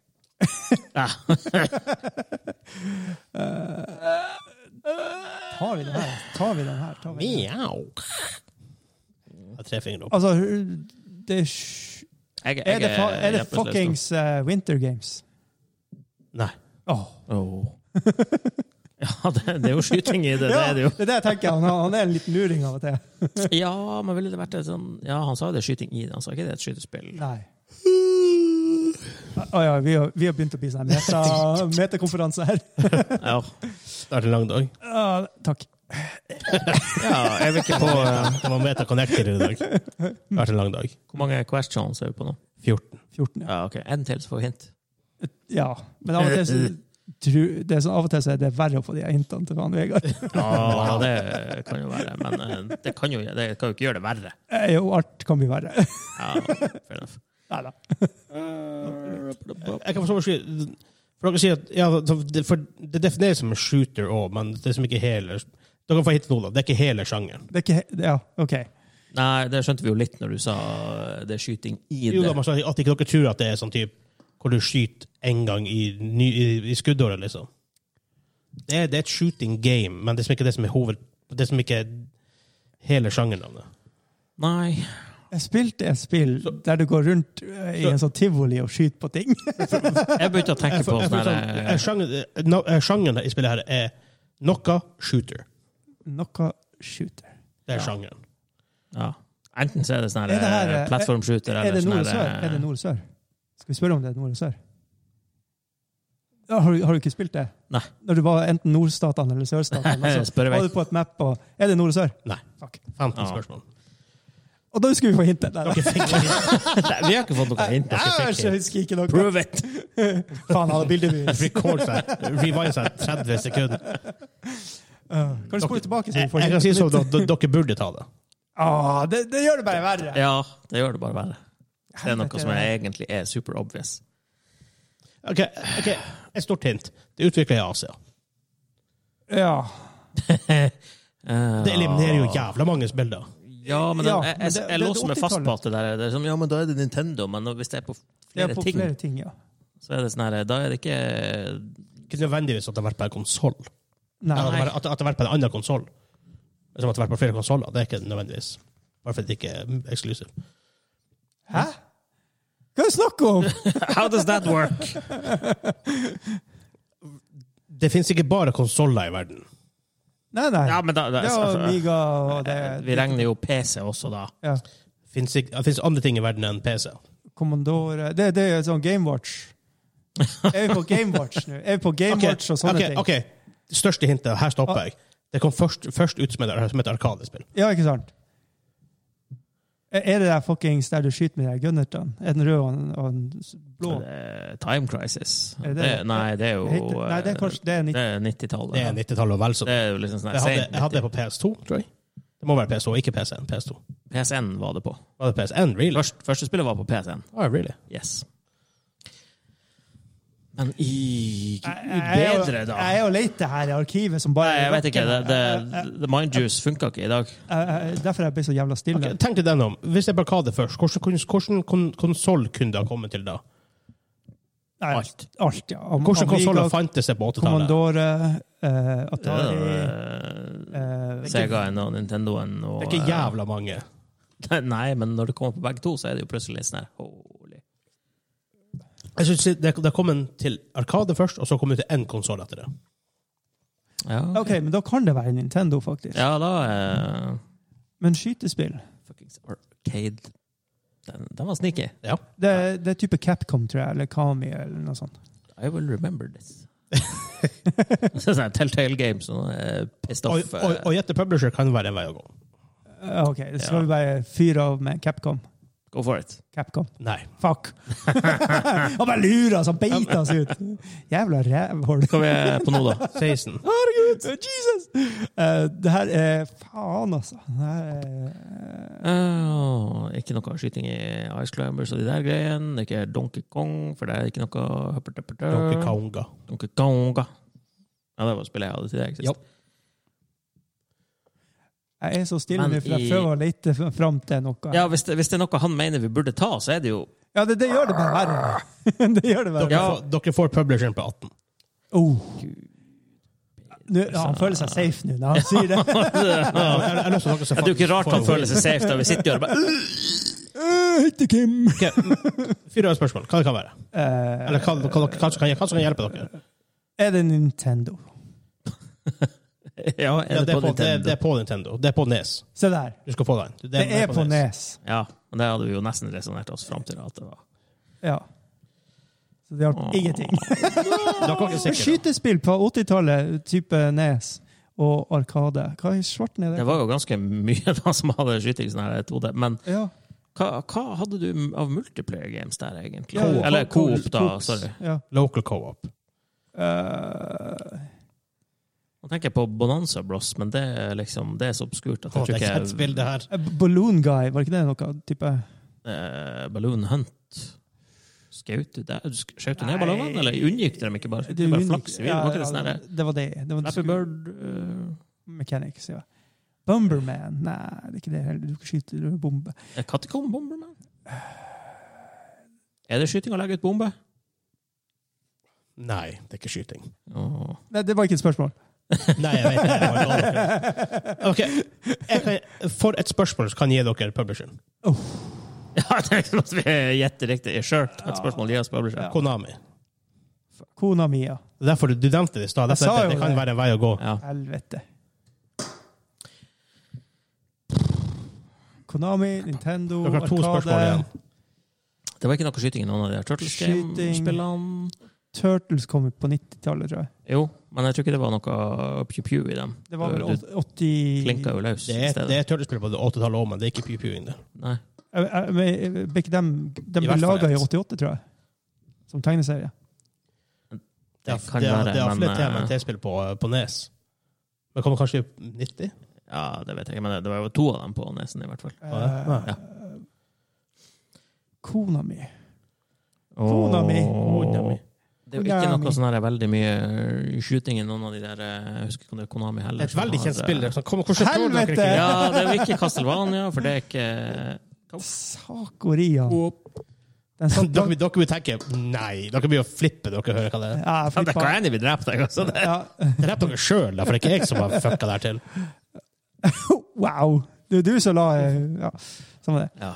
A: Eh, Tar vi den her? Tar vi den her? Tar vi den her?
B: Mjau. Jeg har tre fingre opp.
A: Altså, det er, sj-
C: jeg, jeg,
A: er det, fa- er det
C: hjelpeløs nå.
A: fuckings eh, Winter Games?
B: Nei.
A: Åh.
C: Åh. Ja, det, det er jo skyting i det. Det
A: Ja,
C: er det
A: det
C: jo.
A: er det jeg tenker. Han, han er en liten luring av og til.
C: Ja, men ville det vært et sånn Ja, han sa jo det er skyting i det, han sa ikke det er et skytespill.
A: Nei. Å ja, vi har, vi har begynt å bli sånn her meta, metakonferanse her.
B: Det
C: Ja,
B: har vært en lang dag.
A: Ah, takk.
C: ja jeg vil ikke på eh,
B: Det var MetaConnector i dag. Det har vært en lang dag.
C: Hvor mange questions er vi på nå?
B: 14.
A: 14, ja.
C: Ja, ok, En til, så får vi hint.
A: ja. Men av og til så,
C: Eh,
A: tru- det er sånn, av og til så er det verre å få de her hintene til han Vegard.
C: Ja, det kan jo være, men eh, det kan jo, det kan jo ikke gjøre det verre.
A: Eh, Jo, alt kan bli verre.
C: Ja, fair enough.
A: Nei da.
B: Jeg kan forstå sky- For dere sier at ja, det- for det defineres som en shooter òg, men det er som ikke hele Dere får hit nå, da. Det er ikke hele sjangeren.
A: Det er ikke he- Ja, OK.
C: Nei, det skjønte vi jo litt når du sa eh, det er skyting i
B: Jo, da,
C: det.
B: man sa At ikke dere tror at det er sånn type hvor du skyter én gang i, ny, i, i skuddåret, liksom. Det er, det er et shooting game, men det er som ikke det som er hoved... Det er som ikke er hele sjangeren av det.
C: Nei.
A: Jeg spilte et spill der du går rundt eh, i en sånn tivoli og skyter på ting.
C: Jeg begynte å tenke på
B: Jeg
C: sånn
B: får sånn-
C: her
B: eh, sjanger- eh, no- eh, Sjangeren i spillet her er noe shooter.
A: Noe shooter.
B: Det er
C: Ja.
B: sjangeren.
C: eh, ja. Enten så er det sånn
A: Er det her,
C: her
A: eh,
C: plattformskjuter
A: Er
C: eller
A: det
C: sånn
A: nord og
C: her
A: sør? Er det nord og sør? Skal vi spørre om det er nord og sør? Ja, har, du, har du ikke spilt det?
C: Nei.
A: Når du var enten nordstatene eller sørstatene? Altså,
C: Spør i vei.
A: var du på et map og Er det nord og sør?
B: Nei.
A: Fuck.
B: 15
C: Ja.
B: spørsmål.
A: Og da skulle vi få hintet. Nei,
B: Dere fikk ikke-
C: Nei, Vi har ikke fått noe hint. altså,
A: nei. Æsj, jeg husker ikke noe.
C: Prove it!
A: Faen, han hadde bildebevis.
B: record seg, rewind seg 30 sekunder.
A: Uh, kan du spole tilbake, så vi
B: Jeg,
A: får
B: jeg kan si
A: hintet?
B: sånn at d- dere burde ta det.
A: Ah, det, det gjør det bare verre.
C: Ja, det gjør det bare verre. Det er noe som er, egentlig er super obvious.
B: Ok, ok, Et stort hint. Det er utviklet i Asia.
A: Ja.
B: Det eliminerer jo jævla mange spill, da.
C: Eh, Ja, men
A: Ja,
C: den- jeg,
A: men
C: jeg,
A: det-
C: jeg,
A: det- det
C: låser meg fast på at det der det er sånn, Ja, men da er det Nintendo, men hvis det er på
A: Det
C: flere
A: er på
C: ting,
A: flere ting, ja.
C: så er det sånn her Da er det ikke
B: Ikke nødvendigvis at det har vært på en konsoll.
A: Nei.
B: At, det har vært- at det har vært på en annen konsoll. Som at det har vært på flere konsoller. Det er ikke nødvendigvis. Bare fordi det ikke er eksklusivt.
A: Hæ? Hva er det snakk om?
C: How does that work?
B: Det finnes ikke bare konsoller i verden.
A: Nei, nei.
C: Ja, men da, da
A: det er
C: altså,
A: Amiga og det
C: Eh, Vi regner jo PC også, da.
A: ja.
B: Finnes ikke, det finnes andre ting i verden enn PC.
A: Commodore det, det er sånn Gamewatch. Er vi på Gamewatch nå? Er vi på Gamewatch og sånne
B: ok,
A: ting?
B: ok. Det største hintet, her stopper jeg. Det kom først, først ut som et, som et arkadespill.
A: Ja, ikke sant? Er er det der fuckings der du skyter med de her gunnertene? Er den rød og den- og den s- blå?
C: Eh, Time Crisis.
A: Er det
C: Det,
A: det?
C: nei, det er jo
A: Heter- Nei, det er kanskje det er
C: eh, det
A: 90.
C: er 90-tallet.
B: Det er 90-tallet og vel så
C: Det er jo liksom sånn her
B: Jeg hadde,
C: sent
B: jeg hadde det på PS2, tror jeg. Det må være PS2, ikke PC. PS2.
C: PSN var det på.
B: Var det PSN? Really?
C: Først, første spillet var på PSN.
B: Ah, really?
C: Yes. Men i Gud
A: er jo-
C: bedre, da!
A: Jeg er jo leit her i arkivet som bare
C: Nei, jeg vet ikke. Det, det, det Mindjuice funka ikke i dag.
A: Jeg- jeg- Derfor jeg ble så jævla stille.
B: Ok, Tenk til den om. Hvis det er Barkade først, hvordan, hvordan kon konsoll kunne det ha kommet til da?
A: Nei,
C: Alt.
A: Alt, ja. Am-
B: Hvordan
A: Amiga,
B: konsoller fantes det på 80-tallet?
A: Commodore, eh,
C: Det er
A: Atari
C: jo, eh,
A: eh,
C: Segaen og Nintendoen og
B: Det er ikke jævla mange.
C: eh, Nei, men når det kommer på begge to, så er det jo plutselig litt sånn her holy.
B: Jeg synes det, det har kommet til Arkade først, og så kom det til én konsoll etter det.
C: Ja,
A: OK, men da kan det være Nintendo, faktisk.
C: ja da eh,
A: Men skytespill
C: Fuckings Arcade. Den, den var sneaky.
B: Ja.
A: det, det er type Capcom, tror jeg, eller Kami, eller noe sånt.
C: I will remember this. så er det sånn Telltale Games og eh, pissed
B: Og,
C: off. eh,
B: og, og gjette publisher kan være en vei å gå.
A: Eh, OK, så skal
C: Ja.
A: vi bare fyre av med Capcom.
C: Go for it.
A: Capcom.
B: Nei.
A: Fuck! Han bare lurer oss, han beiter oss ut! Jævla rævhål.
C: Hva er vi på nå, da?
B: 16.
A: Herregud! Jesus! Eh, det her er Faen, altså. Det her er,
C: Åh, Oh, ikke noe skyting i Ice Climbers og de der greiene. Ikke Donkey Kong, for det er ikke noe hupper, tupper, tupper.
B: Donkey Konga.
C: Donkey Kong. Ja, det var spillet jeg hadde til deg sist.
B: Ja.
A: jeg er så stille
C: Men
A: nå, for
C: i-
A: jeg prøver å lete fram til noe.
C: Ja, hvis det, hvis det er noe han mener vi burde ta, så er det jo
A: Ja, det, det gjør det bare verre. det gjør det bare
B: Dere,
A: verre.
C: Ja.
B: får, dere får publisheren på 18.
A: Oh. Nå, han føler seg safe nå når han sier det.
B: Jeg,
C: Ja,
B: jeg, jeg, jeg, jeg,
C: Det er jo ikke rart han føler seg safe da vi sitter og gjør bare
A: Eh, Ikke Kim!
B: Fire spørsmål. Hva det kan være?
A: Eh,
B: Eller hva, hva, hva, hva, som kan, hva som kan hjelpe dere?
A: er det Nintendo?
C: Ja, er
B: Ja,
C: det,
B: det, er
C: på
B: på, det, det
C: Nintendo?
B: er på Nintendo. Det er på Nes.
A: Se der.
B: Du skal få den. Det,
A: Det er på
C: E
A: E Nes.
C: Ja, men det hadde vi jo nesten resonnert oss fram til. at det var.
A: Ja. Så det hjalp ingenting.
B: Dere er ikke sikre.
A: Skytespill på 80-tallet, type Nes og Arkade. Hva i svarten er
C: Det
A: det?
C: var jo ganske mye da som hadde skyting sånn her 2D. Men
A: Ja.
C: hva, hva hadde du av multiplayer games der, egentlig?
A: Ja,
C: Eller
A: Coop,
C: Coop, da.
A: Coops.
C: Sorry.
A: Ja.
B: Local co-op.
A: Eh,
C: Nå tenker jeg på Bonanza Bros, men det er liksom, det er så obskurt at
B: Å, Det
C: jeg tror
B: er ikke et
C: ikke
B: spill, det her.
A: eh, Balloon Guy, var ikke det noe? Type?
C: eh, Balloon Hunt Skjøt du der? Du sk- Skjøt du ned
A: Nei.
C: ballongene, eller unngikk dere dem ikke bare? Det var bare flaks i vinden, var ikke det sånn her
A: det var det. det var
C: Flappy Bird eh,
A: Mechanics, ja. Bomberman. Nei, det er ikke det heller. Du kan skyte med bombe.
C: Er Catacomb Bomberman? Er det skyting å legge ut bombe?
B: Nei, det er ikke skyting.
C: Åh.
A: Nei, det var ikke et spørsmål.
B: Nei, jeg vet det. det. var dårlig. Ok, jeg kan, For et spørsmål så kan jeg gi dere publisheren.
C: Ja, det er ikke noe vi gjetter riktig. Sure, ta et spørsmål. Gi oss publisher.
B: Konami.
A: Kona mi, ja.
B: Det er Derfor du nevnte det i stad. Derfor
A: Jeg sa
B: dette- Det
A: jo
B: kan
A: det.
B: være en vei å gå.
C: Ja.
A: Helvete. Konami, Nintendo,
B: Dere har to spørsmål igjen.
C: Det var ikke noe skyting i noen av de her Turtles
A: Skyting.
C: Game-spillene.
A: Turtles kom ut på 90-tallet, tror jeg.
C: Jo, men jeg tror ikke det var noe pew-pew i dem.
A: Det var vel
C: du, du
A: 80
C: klinka jo løs
B: Det
C: i
B: er, det
C: stedet.
B: er turtlespill på det 80-tallet òg, men det er ikke Pew Pew in det.
C: Nei.
A: Jeg- jeg- jeg- eh, Begge dem de
B: I
A: ble
B: hvert fall
A: laga i
B: ett.
A: 88, tror jeg. Som tegneserie.
B: Det er,
C: Det kan
B: det er,
C: være,
B: det er
C: men,
B: flere tema
C: eh,
B: enn T-spill på, på Nes. Men kommer kanskje i 90?
C: Ja, det vet jeg ikke, men det- det var jo to av dem på nesen, i hvert fall.
B: Ja.
A: Eh, Kona mi
C: Åh.
A: mi.
B: Konami.
C: Det er jo ikke
A: Konami.
C: noe sånn her veldig mye skyting i noen av de der eh, Jeg husker ikke om det er Konami heller.
B: Det er et
C: som
B: veldig
C: har
B: kjent
C: det.
B: spill. det er sånn, Kom, hvordan tror dere
A: Helvete!
B: ikke?
C: Ja, det er jo ikke Castlevania, for det er ikke
A: Sakoria. Den
B: Dere,
A: satt langt
B: Sånn, dere vil tenke Nei, dere blir jo flippe dere hører hva det er.
A: Ja,
C: Det er
A: flippa.
C: Kranny vi drepte, jeg, altså. Det-
A: Ja.
B: Drep dere sjøl, for det er ikke jeg som har fucka det her til.
A: Wow! Det er du som la Ja, sånn var det.
C: Ja.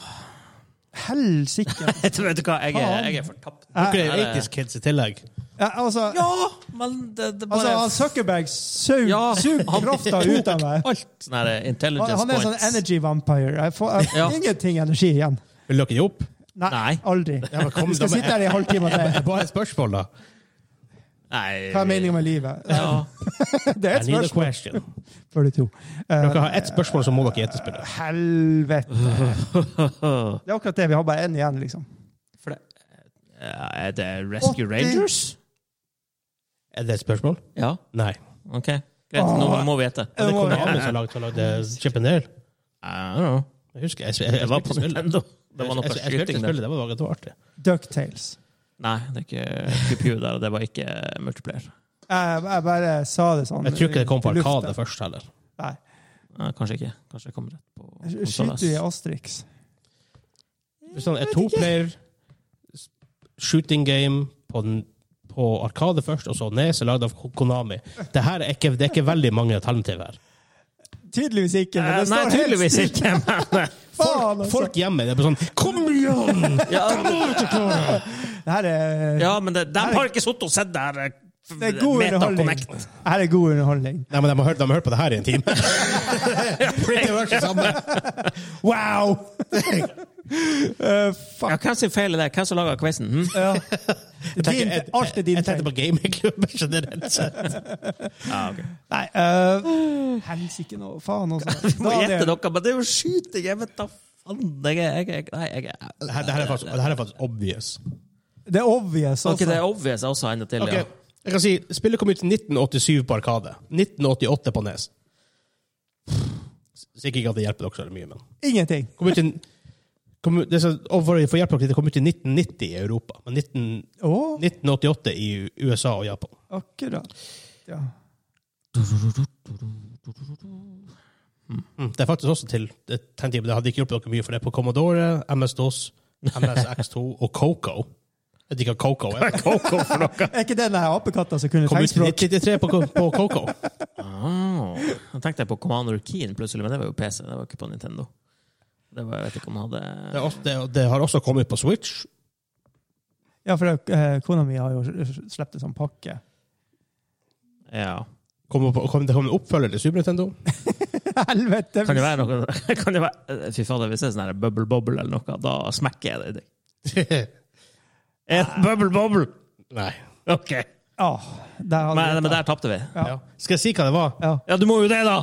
A: Helsike!
C: Vet du hva, jeg er, jeg er fortapt.
B: Dere er
C: Ja, det-
B: 80's kids i tillegg.
A: Ja, altså,
C: Ja, men det, det
A: altså
C: bare
A: han Zuckerberg sug,
C: Ja,
A: sug
C: han-
A: krafta ut av meg.
C: Alt sånn her
A: Han,
C: intelligence
A: han er en sånn
C: points.
A: energy vampire. Jeg får jeg,
C: Ja.
A: ingenting energi igjen.
B: Vil dere gi opp?
A: Nei,
C: Nei.
A: aldri.
B: Ja, men kom,
A: Vi skal
B: da, men-
A: sitte her i en halvtime
B: Det
A: til.
B: er bare et spørsmål, da.
C: Nei.
A: Hva er meningen med livet?
C: Ja.
A: Det er
B: I
A: et
B: need a
A: spørsmål
B: question.
A: for de to. Eh,
B: Dere har ett spørsmål, så må dere gjette spillet.
A: helvete. Det er akkurat det. Vi har bare én igjen, liksom.
C: For det, ja, er det Rescue
A: 80?
C: Rangers?
B: Er det et spørsmål?
C: Ja,
B: Nei.
A: Ah.
C: OK. Greit, nå må vi gjette.
B: Det er
A: må-
B: Konami som har lagd- som har lagd eh, Chip and Dale.
C: I don't know.
B: Jeg husker jeg, jeg, jeg,
C: Det var på
B: spilte spillet.
C: Nintendo. Det
B: Jeg-
C: var
B: jeg-
C: noe
B: jeg- jeg spilte
C: skyting der.
B: spillet, det var, det var artig.
A: Ducktales.
C: Nei, det er ikke Pew-Pew der, og det var ikke eh, multiplayer.
A: Jeg, jeg bare sa det sånn.
B: Jeg tror ikke det kom på
A: i lufta.
B: Arkade først heller.
A: Nei.
C: Nei, kanskje ikke. Kanskje jeg kom rett på konsoles.
A: Skyter du i Asterix?
B: Hvis han er sånn, to-player shooting game på, den- på Arkade først, og så Nes, lagd av Ko- Konami det, her er ikke, det er ikke veldig mange alternativer her.
A: Tydeligvis ikke. Men
C: Eh,
A: det står
C: Nei, tydeligvis
A: helst
C: ikke, men
A: Faen, altså.
B: Folk hjemme det er bare sånn Kom igjen!
A: Det her er,
C: Ja, men det, de har ikke sittet og sett det her eh, f-
A: det er god underholdning.
C: MetaConnect.
A: Det her er god underholdning.
B: Nei, men de har, hørt, de har hørt på det her i en time. Pretty much det samme.
A: Wow! Eh, fuck.
C: Ja, hvem sin feil er det? Hvem som laga quizen? Hm?
A: Ja. Din,
B: Jeg-
A: alt er din
B: Jeg tenkte
A: feil.
B: på gamingklubben generelt sett.
C: Ja, ok.
A: Nei, uh, helsike nå. Faen, altså.
C: Må gjette dere, men det er jo skyting! Jeg vet da faen! Jeg, er- jeg, jeg, nei, jeg, er-
B: Det her, det her er faktisk, det her er faktisk obvious.
A: Det er obvious,
C: Ok, det
A: altså.
C: er obvious også enda til,
B: Ok,
C: ja.
B: Jeg kan si, Spillet kom ut i 1987 på Arkade. 1988 på Nes. Sikkert ikke at det hjelper dere så veldig mye, men
A: Ingenting.
B: Kom ut i, kom ut, det er så, og for å få hjelp av det, det kom ut i 1990 i Europa, men 19,
A: Å,
B: 1988 i USA og Japan.
A: akkurat. Ja.
B: Mm. Det er faktisk også til det, tenkte jeg, men det hadde ikke hjulpet dere mye, for det er på Commodore, MS-DOS, MSX2 og Coco. Jeg vet ikke hva Coco er. Coco for noe?
A: Er ikke det den her apekatta som kunne
B: Kom ut i
A: tegnspråk?
B: 1993 på, Ko- på Coco.
C: Ah, jeg tenkte jeg på Commander Keen plutselig, men det var jo PC, det var ikke på Nintendo. Det var, jeg vet ikke om han
B: Det, er
C: hadde
B: også, det, det har også kommet på Switch.
A: Ja, for eh, kona mi har jo sluppet en sånn pakke.
C: Ja.
B: Kom på, kom, det kom en oppfølger til Super Nintendo.
A: Helvete!
C: Kan det være noe kan det være, Fy fader, hvis det er sånn her Bubble Bobble eller noe, da smekker jeg det i deg. Er det Bubble Bobble!
B: Nei.
C: OK.
A: Ja, der hadde
C: Men,
A: vi
C: men
A: det.
C: der tapte vi.
A: Ja.
B: Ja. Skal jeg si hva det var?
A: Ja.
C: Ja, du må jo det, da!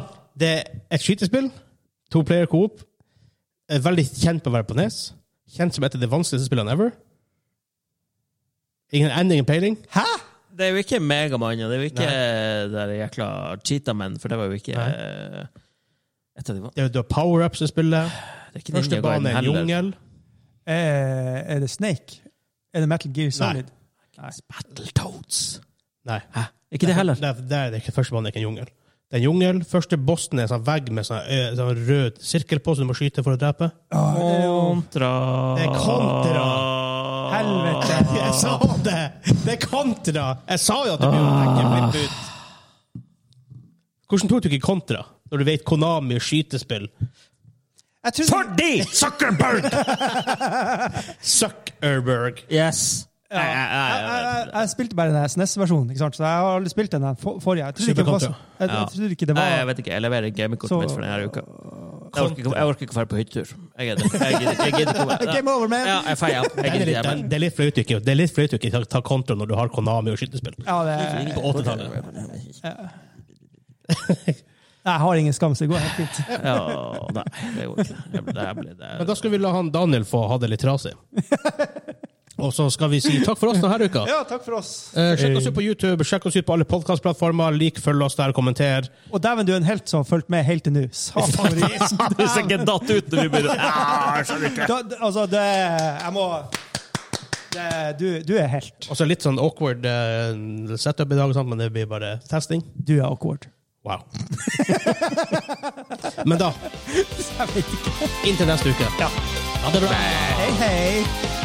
B: Det er et skytespill. To player coop. Er Veldig kjent på å være på nes. Kjent som et av de vanskeligste spillene ever. Ingen ending, ingen peiling.
A: Hæ?!
C: Det er jo ikke Megamann, og det er jo ikke det der jækla Cheetahman, for det var jo ikke
B: Nei.
C: eh, et av de van-
B: Det er, du har power-ups i spillet.
C: Det er ikke
B: Første
C: Ninja Gaiden
B: bane er en
C: heller.
B: jungel.
A: Eh, er det Snake? Er det Metal Gear Solid?
C: Battletoads.
B: Nei.
C: Hæ? Ikke det heller?
B: Det er, det er det ikke, første bane er ikke en jungel. Det er en jungel. Første bossen er en sånn vegg med sånn, ø, sånn rød sirkel på, som du må skyte for å drepe.
A: Ja, det er jo
C: Kontra
B: Det er kontra.
A: Helvete!
B: Jeg sa det! Det er kontra! Jeg sa jo at det blir å tenke flipp ut. Hvordan tok du ikke kontra, når du vet Konami og skytespill?
A: Jeg trodde-
C: Fordi Zuckerberg!
B: Zuckerberg.
C: Yes. Ja.
A: Jeg, jeg, jeg spilte bare den SNES-versjonen, E ikke sant? så jeg har aldri spilt den her for- forrige. Jeg trodde ikke, det var,
B: Superkontra.
A: jeg, jeg trodde ikke det
C: Nei, jeg
A: var
C: vet ikke. Jeg leverer gamingkortet
A: Så-
C: mitt for denne uka. Jeg orker, ikke, jeg orker ikke å dra på hyttetur. Jeg gidder jeg gidder- jeg gidder ikke. å være-
A: Game over, man!
C: Ja, jeg feier. Jeg
B: Det er
C: gidder
B: litt,
C: ikke.
B: det er litt flaut å ikke- det er litt flaut å ikke ta- ta kontra når du har Konami og skytespill.
A: Ja, det,
B: På 80-tallet.
A: jeg har ingen skam, så det går helt fint.
C: Ja, nei, det går ikke. Jeg blir- jeg blir-
B: Men
C: det
B: da skal vi la han Daniel få ha det litt trasig. Og så skal vi si takk for oss denne uka.
A: Ja, takk for oss.
B: Eh, sjekk oss ut på YouTube, sjekk oss ut på alle podkastplattformer. Lik, følg oss der, kommenter.
A: Og dæven, du er en helt som har fulgt med helt til nå. Satan.
C: er Du ser ikke datt ut når vi begynner. Ja, jeg skjønner ikke.
A: Da- da- Altså, det Jeg må det, du, du er helt.
B: Og så litt sånn awkward eh, setup i dag, sant, men det blir bare testing.
A: Du er awkward.
B: Wow. Men da,
A: Jeg vet ikke.
B: inntil neste uke. Ha det bra.
A: Hei, hei.